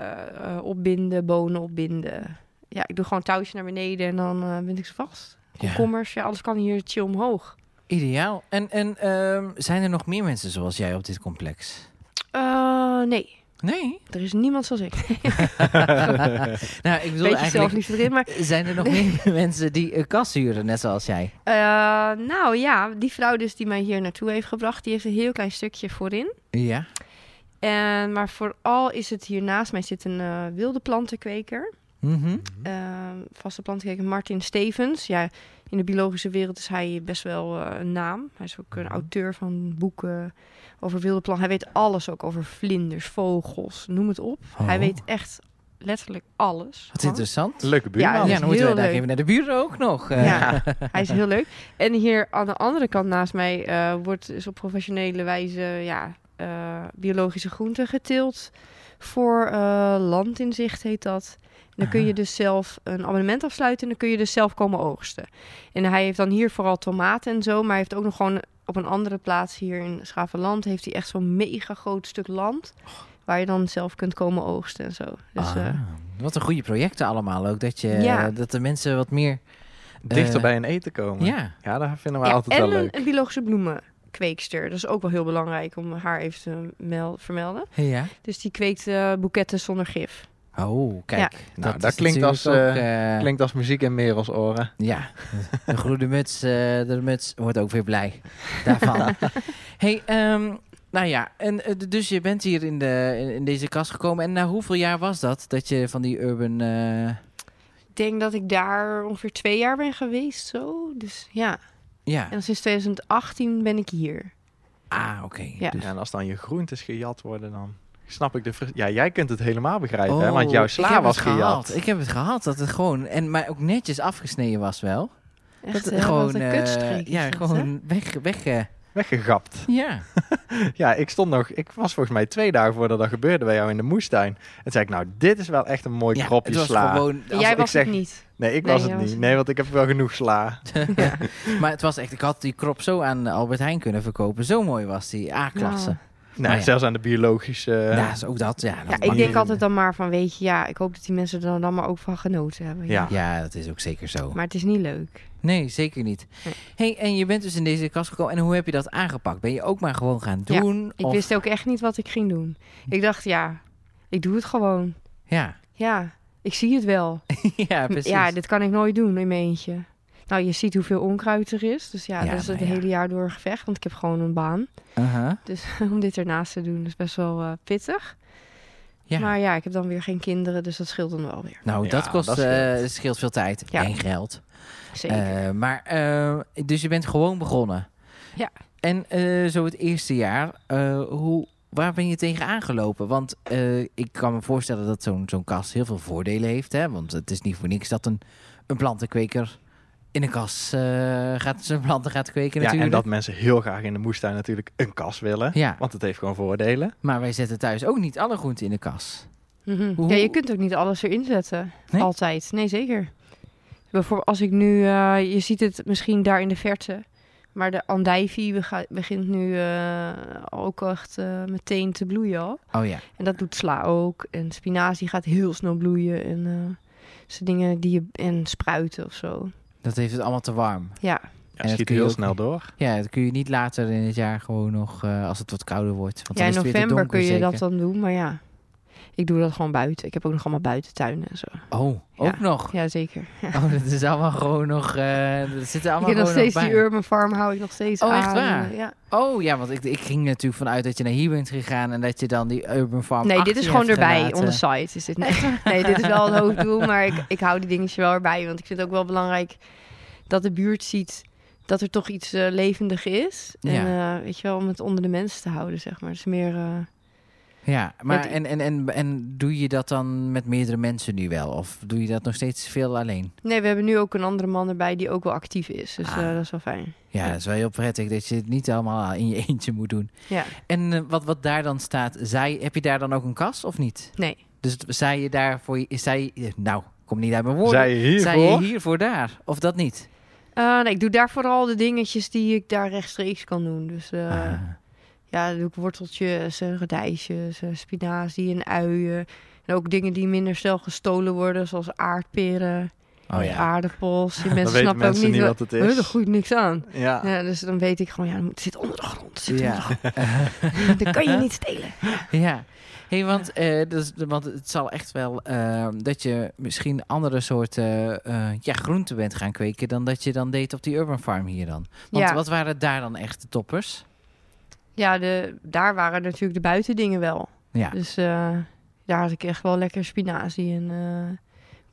Speaker 4: eh, opbinden, bonen opbinden. Ja, ik doe gewoon een touwtje naar beneden en dan eh bind ik ze vast.
Speaker 2: Ja.
Speaker 4: Kommers, ja, alles kan hier chill omhoog.
Speaker 2: Ideaal. En, en ehm, zijn er nog meer mensen zoals jij op dit complex?
Speaker 4: Eh, nee,
Speaker 2: Nee.
Speaker 4: er is niemand zoals ik.
Speaker 2: Nou, ik bedoel
Speaker 4: Beetje
Speaker 2: eigenlijk,
Speaker 4: zelfliefde erin, maar...
Speaker 2: zijn er nog meer mensen die een kas huren, net zoals jij?
Speaker 4: eh, nou ja, die vrouw dus die mij hier naartoe heeft gebracht, die heeft een heel klein stukje voorin.
Speaker 2: Ja.
Speaker 4: En, maar vooral is het hier naast mij zit een eh, wilde plantenkweker.
Speaker 2: Mhm.
Speaker 4: eh, vaste plantenkweker Martin Stevens. Ja, in de biologische wereld is hij best wel eh, een naam. Hij is ook
Speaker 2: Mhm.
Speaker 4: een auteur van boeken over wilde planten. Hij weet alles ook over vlinders, vogels, noem het op.
Speaker 2: Oh.
Speaker 4: Hij weet echt letterlijk alles.
Speaker 2: Wat
Speaker 4: gewoon.
Speaker 2: interessant.
Speaker 3: Leuke buurman.
Speaker 4: dat
Speaker 2: ja,
Speaker 4: is
Speaker 2: dan moeten we
Speaker 4: heel
Speaker 2: daar
Speaker 4: leuk.
Speaker 2: even naar de buren ook nog. eh.
Speaker 4: Ja, hij is heel leuk. En hier aan de andere kant naast mij eh, wordt is op professionele wijze ja, eh, biologische groenten geteeld. Voor eh landinzicht heet dat. En dan kun
Speaker 2: Aha.
Speaker 4: je dus zelf een abonnement afsluiten en dan kun je dus zelf komen oogsten. En hij heeft dan hier vooral tomaten en zo, maar hij heeft ook nog gewoon op een andere plaats hier in Schavenland heeft hij echt zo'n mega groot stuk land. Waar je dan zelf kunt komen oogsten en zo. Dus,
Speaker 2: Oh. Ah,
Speaker 4: eh,
Speaker 2: wat een goede projecten allemaal ook. Dat, je,
Speaker 4: Ja.
Speaker 2: dat de mensen wat meer...
Speaker 3: Dichter
Speaker 2: Eh,
Speaker 3: bij een eten komen.
Speaker 2: Ja.
Speaker 3: Ja, dat vinden we
Speaker 4: Ja,
Speaker 3: altijd
Speaker 4: en
Speaker 3: wel
Speaker 4: een-
Speaker 3: leuk.
Speaker 4: een biologische bloemenkweekster. Dat is ook wel heel belangrijk om haar even te mel- vermelden.
Speaker 2: Ja.
Speaker 4: Dus die kweekt eh, boeketten zonder gif.
Speaker 2: Oh, kijk.
Speaker 4: Ja.
Speaker 3: Nou,
Speaker 2: is
Speaker 3: dat klinkt als,
Speaker 2: natuurlijk ook, eh,
Speaker 3: Klinkt als muziek in Merels oren.
Speaker 2: Ja, de groene muts, eh, de muts wordt ook weer blij daarvan. hey, ehm, nou ja, en, eh, d- dus je bent hier in, de, in, in deze kast gekomen. En na hoeveel jaar was dat, dat je van die urban... eh,
Speaker 4: Ik denk dat ik daar ongeveer twee jaar ben geweest zo. Dus ja,
Speaker 2: ja,
Speaker 4: en sinds 2018 ben ik hier.
Speaker 2: ah, oké.
Speaker 4: Ja.
Speaker 2: Dus-
Speaker 3: Ja, en als dan je groentes gejat worden, dan snap ik de frust- Ja, jij kunt het helemaal begrijpen, hè?
Speaker 2: Oh,
Speaker 3: Want jouw
Speaker 2: ik heb
Speaker 3: sla
Speaker 2: het
Speaker 3: was
Speaker 2: gehaald.
Speaker 3: gejat.
Speaker 2: Ik heb het gehad, dat het gewoon... En, maar ook netjes afgesneden was wel.
Speaker 4: Echt
Speaker 2: dat,
Speaker 4: eh,
Speaker 2: gewoon,
Speaker 4: wat een
Speaker 2: eh,
Speaker 4: kutstreek is
Speaker 2: Ja,
Speaker 4: dat, hè?
Speaker 2: gewoon weg... weg eh,
Speaker 3: Weggegapt.
Speaker 2: ja.
Speaker 3: Ja, ik stond nog... Ik was volgens mij twee dagen voordat dat gebeurde bij jou in de moestuin. En zei ik, nou, dit is wel echt een mooi
Speaker 2: ja,
Speaker 3: kropje
Speaker 2: het was
Speaker 3: sla.
Speaker 2: gewoon... als-
Speaker 4: Jij
Speaker 3: ik
Speaker 4: was
Speaker 3: zeg-
Speaker 4: het niet.
Speaker 3: Nee, ik
Speaker 4: Nee,
Speaker 3: was het
Speaker 4: jij was
Speaker 3: niet.
Speaker 4: het
Speaker 3: Nee, want ik heb wel genoeg sla.
Speaker 2: Maar het was echt... Ik had die krop zo aan Albert Heijn kunnen verkopen. Zo mooi was die. A-klasse. ja.
Speaker 3: Nou,
Speaker 2: Nou,
Speaker 3: zelfs aan de biologische... eh,
Speaker 2: ja, is ook dat. Ja, dat
Speaker 4: Ja,
Speaker 2: mag
Speaker 4: ik denk
Speaker 2: niet.
Speaker 4: altijd dan maar van, weet je, ja, ik hoop dat die mensen er dan maar ook van genoten hebben.
Speaker 3: Ja.
Speaker 2: Ja, dat is ook zeker zo.
Speaker 4: Maar het is niet leuk.
Speaker 2: Nee, zeker niet.
Speaker 4: Nee.
Speaker 2: Hey, en je bent dus in deze kast gekomen. En hoe heb je dat aangepakt? Ben je ook maar gewoon gaan
Speaker 4: Ja,
Speaker 2: doen?
Speaker 4: Ik
Speaker 2: of...
Speaker 4: wist ook echt niet wat ik ging doen. Ik dacht, ja, ik doe het gewoon.
Speaker 2: Ja.
Speaker 4: Ja, ik zie het wel.
Speaker 2: ja, precies.
Speaker 4: Ja, dit kan ik nooit doen in mijn eentje. Nou, je ziet hoeveel onkruid er is. Dus ja,
Speaker 2: Ja,
Speaker 4: dat is het
Speaker 2: nou ja.
Speaker 4: hele jaar door een gevecht. Want ik heb gewoon een baan.
Speaker 2: Aha,
Speaker 4: Dus om dit ernaast te doen is best wel eh, pittig.
Speaker 2: ja.
Speaker 4: Maar ja, ik heb dan weer geen kinderen. Dus dat scheelt dan wel weer.
Speaker 2: Nou,
Speaker 3: Ja,
Speaker 2: dat kost,
Speaker 3: dat
Speaker 2: eh,
Speaker 3: scheelt.
Speaker 2: scheelt. veel tijd
Speaker 4: Ja.
Speaker 2: en geld.
Speaker 4: Zeker.
Speaker 2: Eh, maar, eh, dus je bent gewoon begonnen.
Speaker 4: Ja.
Speaker 2: En eh, zo het eerste jaar, eh, hoe, waar ben je tegen aangelopen? Want eh, ik kan me voorstellen dat zo'n zo'n kast heel veel voordelen heeft. Hè? Want het is niet voor niks dat een, een plantenkweker in een kas eh, gaat, zijn planten gaat kweken
Speaker 3: ja, en
Speaker 2: natuurlijk.
Speaker 3: dat mensen heel graag in de moestuin natuurlijk een kas willen.
Speaker 2: Ja.
Speaker 3: Want het heeft gewoon voordelen.
Speaker 2: Maar wij zetten thuis ook niet alle groenten in de kas.
Speaker 4: Mhm.
Speaker 2: Hoe-
Speaker 4: Ja, je kunt ook niet alles erin zetten.
Speaker 2: Nee?
Speaker 4: Altijd. Nee, zeker. Bijvoorbeeld als ik nu... eh, je ziet het misschien daar in de verte. Maar de andijvie bega- begint nu eh, ook echt eh, meteen te bloeien al.
Speaker 2: Oh ja.
Speaker 4: En dat doet sla ook. En spinazie gaat heel snel bloeien. En eh ze dingen die je... En spruiten of zo.
Speaker 2: Dat heeft het allemaal te warm.
Speaker 4: Ja.
Speaker 3: Ja,
Speaker 2: dat
Speaker 3: schiet
Speaker 2: kun je
Speaker 3: heel
Speaker 2: ook
Speaker 3: snel door.
Speaker 2: Ja, dat kun je niet later in het jaar gewoon nog, eh, als het wat kouder wordt. Want
Speaker 4: ja,
Speaker 2: dan
Speaker 4: in
Speaker 2: is het weer te
Speaker 4: november
Speaker 2: donker,
Speaker 4: kun je
Speaker 2: zeker.
Speaker 4: dat dan doen. Maar ja, ik doe dat gewoon buiten. Ik heb ook nog allemaal buitentuinen en zo.
Speaker 2: Oh, ook nog.
Speaker 4: Ja, zeker.
Speaker 2: Oh, dat is allemaal gewoon nog. eh dat zit er
Speaker 4: Ik
Speaker 2: allemaal gewoon
Speaker 4: heb nog
Speaker 2: nog
Speaker 4: steeds die
Speaker 2: bij.
Speaker 4: Urban Farm, hou ik nog steeds
Speaker 2: Oh,
Speaker 4: aan.
Speaker 2: echt waar?
Speaker 4: Ja.
Speaker 2: Oh ja, want ik, ik ging natuurlijk vanuit dat je naar hier bent gegaan en dat je dan die Urban Farm.
Speaker 4: Nee, dit
Speaker 2: achter
Speaker 4: is
Speaker 2: je
Speaker 4: gewoon
Speaker 2: hebt
Speaker 4: erbij,
Speaker 2: gelaten.
Speaker 4: on the site. Is dit. Nee, nee, dit is wel het hoofddoel, maar ik, ik hou die dingetje wel erbij. Want ik vind het ook wel belangrijk dat de buurt ziet dat er toch iets eh, levendig is. En eh, weet je wel, om het onder de mensen te houden, zeg maar. Dus meer... eh,
Speaker 2: Ja, maar
Speaker 4: die-
Speaker 2: en, en, en, en doe je dat dan met meerdere mensen nu wel? Of doe je dat nog steeds veel alleen?
Speaker 4: Nee, we hebben nu ook een andere man erbij die ook wel actief is. Dus
Speaker 2: Ah.
Speaker 4: eh, dat is wel fijn.
Speaker 2: Ja, dat is wel heel prettig dat je het niet allemaal in je eentje moet doen.
Speaker 4: Ja.
Speaker 2: En eh, wat, wat daar dan staat, zij, heb je daar dan ook een kas of niet?
Speaker 4: Nee.
Speaker 2: Dus het- zij je daarvoor, is zij, eh, nou, kom niet uit mijn woorden.
Speaker 3: Zij je hiervoor?
Speaker 2: Zij je hiervoor daar, of dat niet?
Speaker 4: Eh, nee, ik doe daar vooral de dingetjes die ik daar rechtstreeks kan doen. Dus eh,
Speaker 2: Ah.
Speaker 4: ja, dan doe ik worteltjes en radijsjes en spinazie en uien. En ook dingen die minder snel gestolen worden, zoals aardperen,
Speaker 2: Oh ja.
Speaker 4: aardappels. Die
Speaker 3: Dan
Speaker 4: mensen
Speaker 3: weten
Speaker 4: snappen
Speaker 3: mensen
Speaker 4: ook niet
Speaker 3: niet wat het
Speaker 4: Huh, daar
Speaker 3: is. Ah.
Speaker 4: groeit niks aan.
Speaker 3: Ja.
Speaker 4: Ja, dus dan weet ik gewoon, ja, het zit onder de grond. het Zit
Speaker 2: Ja.
Speaker 4: onder- dat kan je niet stelen.
Speaker 2: Ja, hey, want, eh, dat is- want het zal echt wel eh, dat je misschien andere soorten eh, ja, groenten bent gaan kweken dan dat je dan deed op die Urban Farm hier dan. Want
Speaker 4: Ja.
Speaker 2: wat waren daar dan echt de toppers?
Speaker 4: Ja, de, daar waren natuurlijk de buitendingen wel.
Speaker 2: Ja,
Speaker 4: Dus eh, daar had ik echt wel lekker spinazie en eh,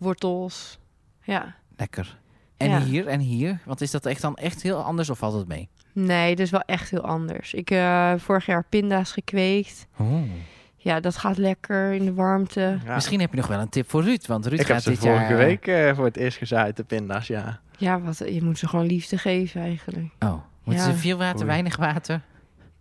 Speaker 4: wortels. Ja.
Speaker 2: lekker. En
Speaker 4: Ja.
Speaker 2: hier en hier, want is dat echt dan echt heel anders of valt het mee?
Speaker 4: Nee, dat is wel echt heel anders. Ik eh vorig jaar pinda's gekweekt.
Speaker 3: Oh.
Speaker 4: Ja, dat gaat lekker in de warmte.
Speaker 3: Ja.
Speaker 2: Misschien heb je nog wel een tip voor Ruud, want Ruud
Speaker 3: ik heb
Speaker 2: gaat
Speaker 3: ze
Speaker 2: dit
Speaker 3: vorige
Speaker 2: jaar.
Speaker 3: week eh, voor het eerst gezaaid, de pinda's, ja.
Speaker 4: Ja, wat, je moet ze gewoon liefde geven eigenlijk.
Speaker 2: Oh, moeten
Speaker 4: Ja.
Speaker 2: ze veel water,
Speaker 3: Oei.
Speaker 2: weinig water?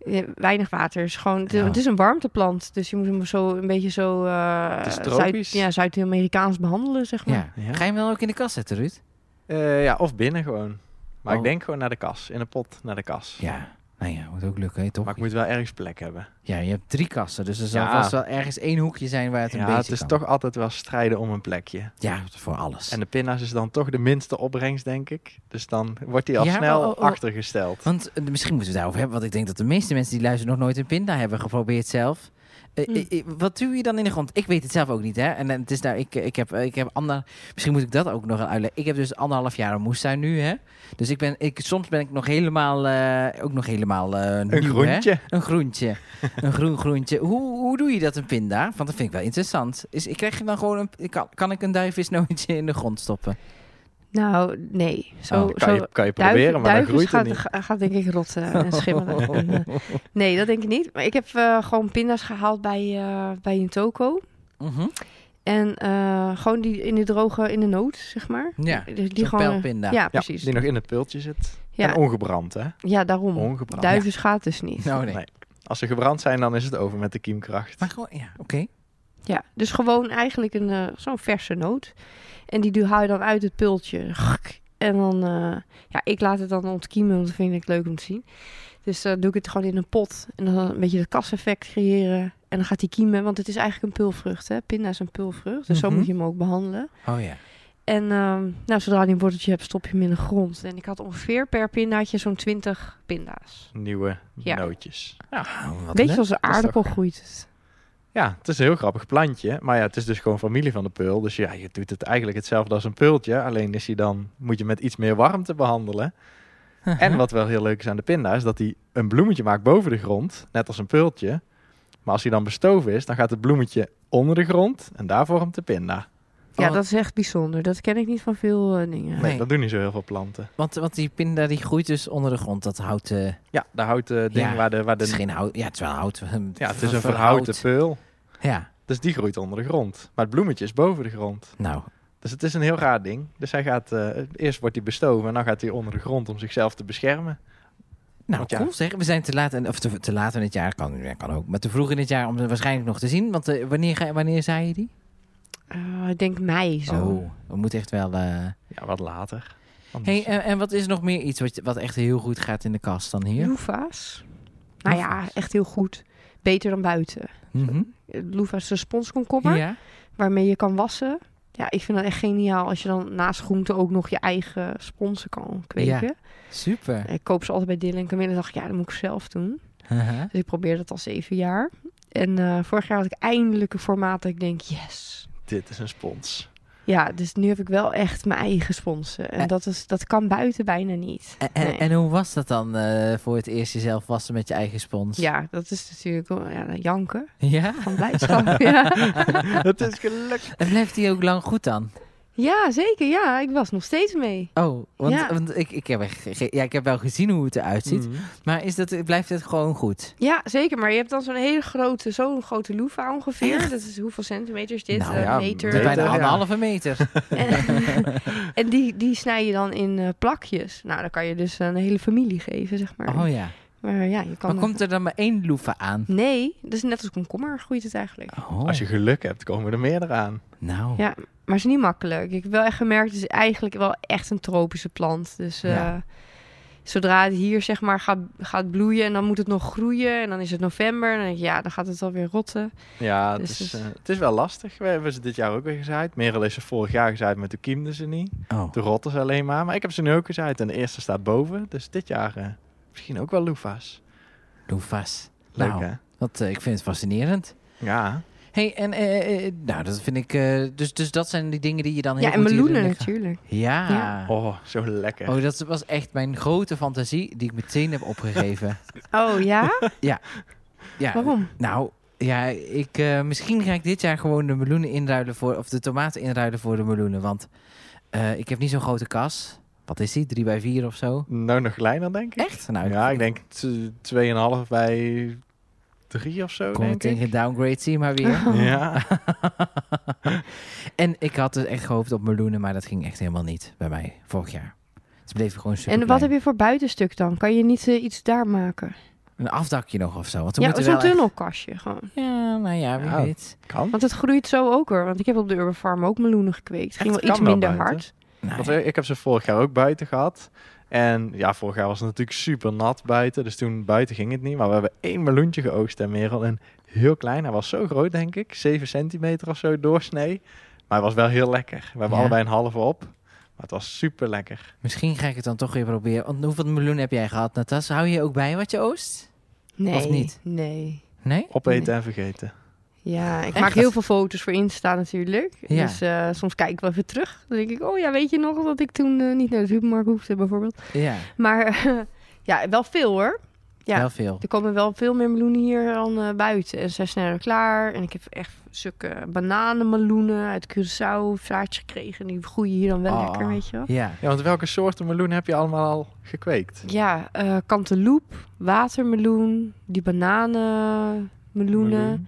Speaker 4: Ja, Weinig water. Is gewoon, het,
Speaker 2: Ja.
Speaker 4: het is een warmteplant, dus je moet hem zo een beetje zo... eh,
Speaker 3: Het is
Speaker 4: Zuid-
Speaker 3: tropisch.
Speaker 4: ja, Zuid-Amerikaans behandelen, zeg maar.
Speaker 2: Ja.
Speaker 3: Ja.
Speaker 2: Ga je hem wel ook in de kast zetten, Ruud?
Speaker 3: Eh, ja, of binnen gewoon. Maar
Speaker 2: Oh.
Speaker 3: ik denk gewoon naar de kas, in een pot naar de kas.
Speaker 2: Ja. Nou ja, moet ook lukken, hè, toch?
Speaker 3: Maar ik moet wel ergens plek hebben.
Speaker 2: Ja, je hebt drie kassen, dus er zal
Speaker 3: Ja.
Speaker 2: vast wel ergens één hoekje zijn waar het een
Speaker 3: Ja,
Speaker 2: beetje
Speaker 3: het is
Speaker 2: kan.
Speaker 3: toch altijd wel strijden om een plekje.
Speaker 2: Ja, voor alles.
Speaker 3: En de pinda's is dan toch de minste opbrengst, denk ik. Dus dan wordt die al
Speaker 2: Ja, maar
Speaker 3: snel
Speaker 2: oh, oh.
Speaker 3: achtergesteld.
Speaker 2: Want eh, misschien moeten we het daarover hebben, want ik denk dat de meeste mensen die luisteren nog nooit een pinda hebben geprobeerd zelf. Eh,
Speaker 4: Hm.
Speaker 2: eh, eh, wat doe je dan in de grond? Ik weet het zelf ook niet, hè? En eh, het is nou, ik, eh, ik heb, eh, ik heb ander, misschien moet ik dat ook nog uitleggen. Ik heb dus anderhalf jaar een moestuin nu, hè? Dus ik ben, ik, soms ben ik nog helemaal, eh, ook nog helemaal eh, nieuw,
Speaker 3: Een
Speaker 2: Hè?
Speaker 3: groentje.
Speaker 2: Een groentje, een groen groentje. Hoe, hoe doe je dat een pinda? Want dat vind ik wel interessant. Is, ik krijg je dan gewoon een, kan, kan ik een duifvisnootje in de grond stoppen?
Speaker 4: Nou, nee. Zo,
Speaker 2: Oh,
Speaker 3: Kan
Speaker 4: zo
Speaker 3: je, kan je
Speaker 4: duif-
Speaker 3: proberen, maar dan
Speaker 4: duifjes
Speaker 3: groeit het
Speaker 4: gaat,
Speaker 3: niet.
Speaker 4: ga- gaat denk ik rotten en schimmelen. En, eh, nee, dat denk ik niet. Maar ik heb eh, gewoon pinda's gehaald bij, eh, bij een toko.
Speaker 2: Mhm.
Speaker 4: En eh, gewoon die in de droge, in de nood, zeg maar.
Speaker 2: Ja,
Speaker 4: Dus die,
Speaker 2: zo'n
Speaker 4: gewoon.
Speaker 2: pijlpinda.
Speaker 4: Ja,
Speaker 3: Ja,
Speaker 4: precies.
Speaker 3: die nog in het pultje zit.
Speaker 4: Ja.
Speaker 3: En ongebrand, hè?
Speaker 4: Ja,
Speaker 2: Mm.
Speaker 4: daarom.
Speaker 3: Ongebrand.
Speaker 4: Duiven gaat dus niet.
Speaker 2: Nou nee.
Speaker 3: Nee. Als ze gebrand zijn, dan is het over met de kiemkracht.
Speaker 2: Maar gewoon, ja, oké.
Speaker 4: Ja, dus gewoon eigenlijk een eh, zo'n verse noot. En die haal je dan uit het pultje. Gak. En dan, eh, ja, ik laat het dan ontkiemen, want dat vind ik leuk om te zien. Dus dan doe ik het gewoon in een pot. En dan een beetje dat kaseffect creëren. En dan gaat die kiemen, want het is eigenlijk een pulvrucht, hè. Pinda is een pulvrucht, dus
Speaker 2: Mhm.
Speaker 4: zo moet je hem ook behandelen.
Speaker 2: Oh ja.
Speaker 4: En ehm, nou, zodra je een worteltje hebt, stop je hem in de grond. En ik had ongeveer per pindaatje zo'n 20 pinda's.
Speaker 3: Nieuwe
Speaker 4: Ja.
Speaker 3: nootjes. Nou,
Speaker 2: Oh, wat
Speaker 4: Beetje
Speaker 2: leuk.
Speaker 4: zoals een
Speaker 3: is toch-
Speaker 4: aardappel groeit. het.
Speaker 3: Ja, het is een heel grappig plantje. Maar ja, het is dus gewoon familie van de peul. Dus ja, je doet het eigenlijk hetzelfde als een peultje. Alleen is hij dan, moet je met iets meer warmte behandelen.
Speaker 2: Uh-huh.
Speaker 3: En wat wel heel leuk is aan de pinda, is dat hij een bloemetje maakt boven de grond. Net als een peultje. Maar als hij dan bestoven is, dan gaat het bloemetje onder de grond. En daar vormt de pinda.
Speaker 4: Ja,
Speaker 2: Oh.
Speaker 4: dat is echt bijzonder. Dat ken ik niet van veel eh, dingen.
Speaker 2: Nee.
Speaker 3: Nee, dat doen niet zo heel veel planten.
Speaker 2: Want, want die pinda die groeit dus onder de grond. Dat hout, eh,
Speaker 3: Ja, de houten ding
Speaker 2: Ja,
Speaker 3: waar de... Waar
Speaker 2: het is
Speaker 3: de
Speaker 2: geen hout. Ja, het is wel hout.
Speaker 3: ja, het is een verhouten peul.
Speaker 2: Ja,
Speaker 3: Dus die groeit onder de grond. Maar het bloemetje is boven de grond.
Speaker 2: nou.
Speaker 3: Dus het is een heel raar ding. Dus hij gaat, eh, eerst wordt hij bestoven en dan gaat hij onder de grond om zichzelf te beschermen.
Speaker 2: Nou,
Speaker 3: Want ja.
Speaker 2: cool zeg. We zijn te laat, en, of te, te laat in het jaar, kan, ja, kan ook. Maar te vroeg in het jaar om ze waarschijnlijk nog te zien. Want eh, wanneer, ga- wanneer zei je die?
Speaker 4: Eh, ik denk mei zo.
Speaker 2: Oh, we moeten echt wel... eh,
Speaker 3: Ja, wat later.
Speaker 2: Hey,
Speaker 3: Anders-
Speaker 2: eh, en, en wat is er nog meer iets wat, je- wat echt heel goed gaat in de kast dan hier?
Speaker 4: Loefa's. Nou ja, echt heel goed. Beter dan buiten.
Speaker 2: Mhm.
Speaker 4: Eh, Loefa's is een sponskomkommer
Speaker 2: Ja.
Speaker 4: waarmee je kan wassen. Ja, ik vind dat echt geniaal als je dan naast groente ook nog je eigen sponsen kan kweken.
Speaker 2: Super.
Speaker 4: Ik koop ze altijd bij Dylan en Camille en dacht ik, ja, dat moet ik zelf doen.
Speaker 2: Haha.
Speaker 4: Dus ik probeer dat al zeven jaar. En eh, vorig jaar had ik eindelijk een formaat dat ik denk, yes.
Speaker 3: Dit is een spons.
Speaker 4: Ja, dus nu heb ik wel echt mijn eigen sponsen. En
Speaker 2: Eh.
Speaker 4: dat, is, dat kan buiten bijna niet.
Speaker 2: En, en,
Speaker 4: Nee.
Speaker 2: en hoe was dat dan eh, voor het eerst jezelf wassen met je eigen spons?
Speaker 4: Ja, dat is natuurlijk oh, ja, janken
Speaker 2: Ja?
Speaker 4: van blijdschap. ja.
Speaker 3: het is gelukt.
Speaker 2: En blijft die ook lang goed dan?
Speaker 4: ja, zeker. Ja, ik was nog steeds mee.
Speaker 2: Oh, want,
Speaker 4: Ja. Mm.
Speaker 2: want ik, ik, heb echt ge- ja, ik heb wel gezien hoe het eruit ziet. Maar is dat, blijft het gewoon goed?
Speaker 4: Ja, zeker. Maar je hebt dan zo'n hele grote, zo'n grote loefa ongeveer. Dat is hoeveel centimeter is dit?
Speaker 2: Nou
Speaker 4: Eh,
Speaker 3: ja,
Speaker 4: meter.
Speaker 2: Dat is bijna
Speaker 3: Meter, ja.
Speaker 2: anderhalve meter.
Speaker 4: En, en die, die snij je dan in eh, plakjes. Nou, dan kan je dus een hele familie geven, zeg maar.
Speaker 2: Oh ja.
Speaker 4: Maar ja, je kan...
Speaker 2: Maar
Speaker 4: dat-
Speaker 2: komt er dan maar één loefa aan?
Speaker 4: Nee, dat is net als komkommer groeit het eigenlijk.
Speaker 2: Oh,
Speaker 3: Als je geluk hebt, komen er meer eraan.
Speaker 2: nou.
Speaker 4: Ja, maar het is niet makkelijk. Ik heb wel echt gemerkt, het is eigenlijk wel echt een tropische plant. Dus eh,
Speaker 2: Ja.
Speaker 4: zodra het hier zeg maar gaat, gaat bloeien en dan moet het nog groeien. En dan is het november en dan denk ik, ja, dan gaat het alweer rotten.
Speaker 3: Ja, het,
Speaker 4: Dus
Speaker 3: is,
Speaker 4: het-
Speaker 3: eh, het is wel lastig. We hebben ze dit jaar ook weer gezaaid. Merel is ze vorig jaar gezaaid, maar toen kiemden ze niet.
Speaker 2: Oh.
Speaker 3: Toen rotten ze alleen maar. Maar ik heb ze nu ook gezaaid en de eerste staat boven. Dus dit jaar eh, misschien ook wel loefa's.
Speaker 2: Loefa's.
Speaker 3: Leuk
Speaker 2: nou,
Speaker 3: hè?
Speaker 2: wat, eh, ik vind het fascinerend.
Speaker 3: Ja.
Speaker 2: Hey, en eh, eh, nou, dat vind ik. eh, dus, dus dat zijn die dingen die je dan heel
Speaker 4: ja, en
Speaker 2: goed hierin
Speaker 4: meloenen
Speaker 2: leggen.
Speaker 4: natuurlijk.
Speaker 2: Ja.
Speaker 4: Ja.
Speaker 3: Oh, zo lekker.
Speaker 2: Oh, dat was echt mijn grote fantasie die ik meteen heb opgegeven.
Speaker 4: Oh ja?
Speaker 2: ja.
Speaker 4: Waarom?
Speaker 2: Nou, ja, ik, eh, misschien ga ik dit jaar gewoon de meloenen inruilen voor. Of de tomaten inruilen voor de meloenen. Want eh, ik heb niet zo'n grote kas. Wat is die? 3 bij 4 of zo?
Speaker 3: Nou, nog kleiner denk ik.
Speaker 2: Echt? Nou,
Speaker 3: ja, ik denk t- 2,5 bij 3 of zo,
Speaker 2: Kom
Speaker 3: denk
Speaker 2: meteen
Speaker 3: ik.
Speaker 2: gedowngrade, zie je maar weer.
Speaker 3: Ja.
Speaker 2: en ik had dus echt gehoopt op meloenen, maar dat ging echt helemaal niet bij mij vorig jaar. Het bleef gewoon super
Speaker 4: En wat heb je voor buitenstuk dan? Kan je niet eh, iets daar maken?
Speaker 2: Een afdakje nog of zo. Want we
Speaker 4: Ja,
Speaker 2: moeten
Speaker 4: zo'n
Speaker 2: wel echt-
Speaker 4: tunnelkastje gewoon.
Speaker 2: Ja, nou ja, wie
Speaker 3: Ja.
Speaker 2: weet.
Speaker 3: Kan.
Speaker 4: Want het groeit zo ook hoor. Want ik heb op de Urban Farm ook meloenen gekweekt. Het ging
Speaker 3: Echt?
Speaker 4: wel iets
Speaker 3: Kan wel
Speaker 4: minder
Speaker 3: buiten.
Speaker 4: hard.
Speaker 2: Nou,
Speaker 3: Want eh, ik heb ze vorig jaar ook buiten gehad. En ja, vorig jaar was het natuurlijk super nat buiten. Dus toen buiten ging het niet. Maar we hebben één meloentje geoogst en Merel. En heel klein. Hij was zo groot, denk ik. 7 centimeter of zo doorsnee. Maar hij was wel heel lekker. We hebben
Speaker 2: Ja.
Speaker 3: allebei een halve op. Maar het was super lekker.
Speaker 2: Misschien ga ik het dan toch weer proberen. Want hoeveel meloen heb jij gehad, Natas? Hou je ook bij wat je oost?
Speaker 4: Nee.
Speaker 2: Of niet?
Speaker 4: Nee.
Speaker 2: Nee?
Speaker 3: Opeten
Speaker 4: Nee.
Speaker 3: en vergeten.
Speaker 4: Ja, ik
Speaker 2: Echt?
Speaker 4: maak heel veel foto's voor Insta natuurlijk.
Speaker 2: Ja.
Speaker 4: Dus eh, soms kijk ik wel even terug. Dan denk ik, oh ja, weet je nog dat ik toen eh, niet naar de supermarkt hoefde bijvoorbeeld.
Speaker 2: Ja,
Speaker 4: Maar ja, wel veel hoor. Ja.
Speaker 2: heel veel.
Speaker 4: Er komen wel veel meer meloenen hier dan eh, buiten. En ze zijn sneller klaar. En ik heb echt stukken bananenmeloenen uit Curaçao zaadjes gekregen. Die groeien hier dan wel
Speaker 2: Oh.
Speaker 4: lekker, weet je wel.
Speaker 2: Ja.
Speaker 3: Ja, want welke soorten meloen heb je allemaal al gekweekt?
Speaker 4: Ja, eh kanteloep, watermeloen, die bananenmeloenen.
Speaker 3: Meloen.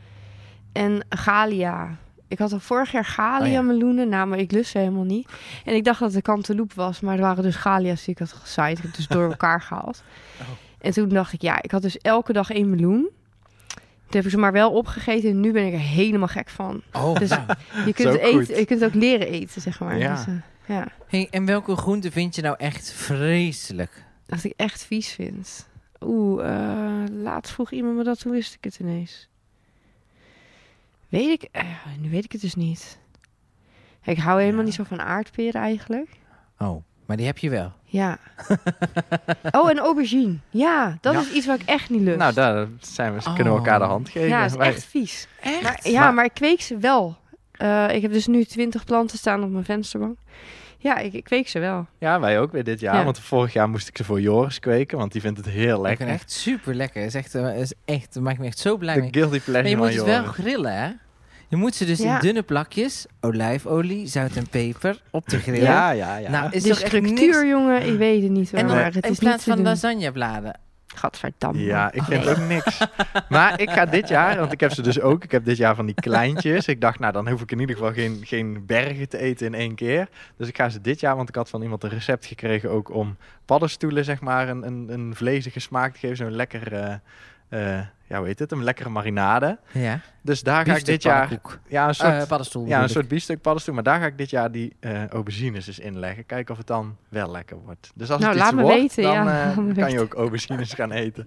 Speaker 4: En Galia. Ik had al vorig jaar Galia
Speaker 2: Oh ja.
Speaker 4: meloenen. Nou, maar ik lust ze helemaal niet. En ik dacht dat het kanteloep was, maar er waren dus Galia's die ik had gezaaid. Ik heb dus door elkaar gehaald.
Speaker 3: Oh.
Speaker 4: En toen dacht ik, ja, ik had dus elke dag één meloen. Toen heb ik ze maar wel opgegeten en nu ben ik er helemaal gek van.
Speaker 2: Oh,
Speaker 4: Dus-
Speaker 2: nou.
Speaker 4: Je kunt,
Speaker 3: ook goed.
Speaker 4: eten, je kunt ook leren eten, zeg maar.
Speaker 3: Ja.
Speaker 4: Dus, eh, ja.
Speaker 2: Hey, en welke groente vind je nou echt vreselijk?
Speaker 4: Dat ik echt vies vind. Oeh, eh, laatst vroeg iemand me dat, toen wist ik het ineens. Weet ik, eh, nu weet ik het dus niet. Ik hou helemaal
Speaker 3: Ja.
Speaker 4: niet zo van aardperen eigenlijk.
Speaker 2: Oh, maar die heb je wel.
Speaker 4: Ja. oh, en aubergine. Ja, dat
Speaker 3: Ja.
Speaker 4: is iets wat ik echt niet lust.
Speaker 3: Nou, daar zijn we,
Speaker 2: Oh.
Speaker 3: kunnen we elkaar de hand geven.
Speaker 4: Dus. ja, dat is
Speaker 3: Wij-
Speaker 4: echt vies.
Speaker 2: Echt?
Speaker 4: Maar, ja, maar... ik kweek ze wel. Eh, ik heb dus nu twintig planten staan op mijn vensterbank. Ja, ik, ik kweek ze wel.
Speaker 3: ja, wij ook weer dit jaar.
Speaker 4: Ja.
Speaker 3: Want vorig jaar moest ik ze voor Joris kweken. Want die vindt het heel
Speaker 2: Ik
Speaker 3: lekker.
Speaker 2: vind het echt super lekker. Is echt, eh, is echt, dat maakt me echt zo blij mee.
Speaker 3: De guilty
Speaker 2: Maar je
Speaker 3: pleasure
Speaker 2: moet
Speaker 3: van
Speaker 2: het
Speaker 3: Joris.
Speaker 2: wel grillen, hè? Je moet ze dus
Speaker 4: Ja.
Speaker 2: in dunne plakjes, olijfolie, zout en peper, op te grillen.
Speaker 3: Ja, ja, ja.
Speaker 2: Nou, is
Speaker 4: De
Speaker 2: toch echt niks
Speaker 4: structuur, jongen, ik weet het niet hoor.
Speaker 2: En dan
Speaker 4: maar het
Speaker 2: in
Speaker 4: is
Speaker 2: plaats
Speaker 4: niet te
Speaker 2: van
Speaker 4: doen.
Speaker 2: lasagnebladen.
Speaker 4: Gadverdamme.
Speaker 3: Ja, ik vind
Speaker 4: Nee.
Speaker 3: ook niks. Maar ik ga dit jaar, want ik heb ze dus ook. Ik heb dit jaar van die kleintjes. Ik dacht, nou, dan hoef ik in ieder geval geen, geen bergen te eten in één keer. Dus ik ga ze dit jaar, want ik had van iemand een recept gekregen ook om paddenstoelen, zeg maar, een, een, een vlezige smaak te geven. Zo'n lekker, eh, eh, ja, weet het, een lekkere marinade.
Speaker 2: Ja.
Speaker 3: Dus daar ga ik
Speaker 2: Biefstuk
Speaker 3: dit jaar...
Speaker 2: pannenkoek.
Speaker 3: Ja, een soort,
Speaker 2: Eh, paddenstoel.
Speaker 3: ja, een
Speaker 2: bedoel
Speaker 3: soort biefstuk paddenstoel. Maar daar ga ik dit jaar die eh aubergines dus inleggen. Kijken of het dan wel lekker wordt. Dus als
Speaker 4: Nou,
Speaker 3: het iets
Speaker 4: laat me
Speaker 3: wordt,
Speaker 4: weten,
Speaker 3: dan
Speaker 4: ja.
Speaker 3: eh,
Speaker 4: Laat me
Speaker 3: kan je
Speaker 4: weten.
Speaker 3: ook aubergines gaan eten.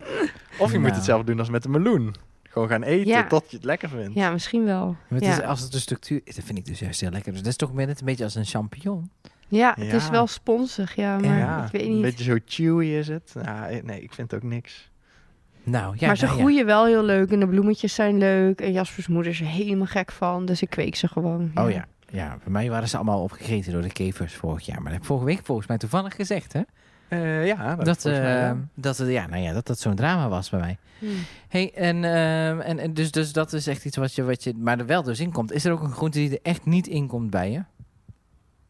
Speaker 3: Of
Speaker 2: Nou.
Speaker 3: je moet hetzelfde doen als met de meloen. Gewoon gaan eten
Speaker 4: Ja.
Speaker 3: tot je het lekker vindt.
Speaker 4: Ja, misschien wel.
Speaker 2: ik. Maar het e-
Speaker 4: ja.
Speaker 2: is, als het de structuur is, dat vind ik dus juist heel lekker. Dus dat is toch net een beetje als een champignon.
Speaker 4: ja, het is
Speaker 3: Ja.
Speaker 4: wel sponsig, ja, maar
Speaker 2: Ja,
Speaker 4: ik weet
Speaker 3: Een
Speaker 4: niet.
Speaker 3: beetje zo chewy is het. Ja, nee, ik vind het ook niks.
Speaker 2: Nou, ja.
Speaker 4: maar ze
Speaker 2: nou, ja.
Speaker 4: groeien wel heel leuk en de bloemetjes zijn leuk. En Jaspers moeder is er helemaal gek van, dus ik kweek ze gewoon.
Speaker 2: Oh ja. Ja, bij mij waren ze allemaal opgegeten door de kevers vorig jaar. Maar dat heb ik vorige week volgens mij toevallig gezegd, hè?
Speaker 3: Eh, ja, dat,
Speaker 2: Dat,
Speaker 3: volgens mij
Speaker 2: eh,
Speaker 3: wel.
Speaker 2: dat, het- Oh, ja, nou ja, dat dat zo'n drama was bij mij.
Speaker 4: Hmm.
Speaker 2: hey, en, ehm, en, en dus, dus dat is echt iets wat je, wat je... Maar er wel dus in komt. Is er ook een groente die er echt niet in komt bij je?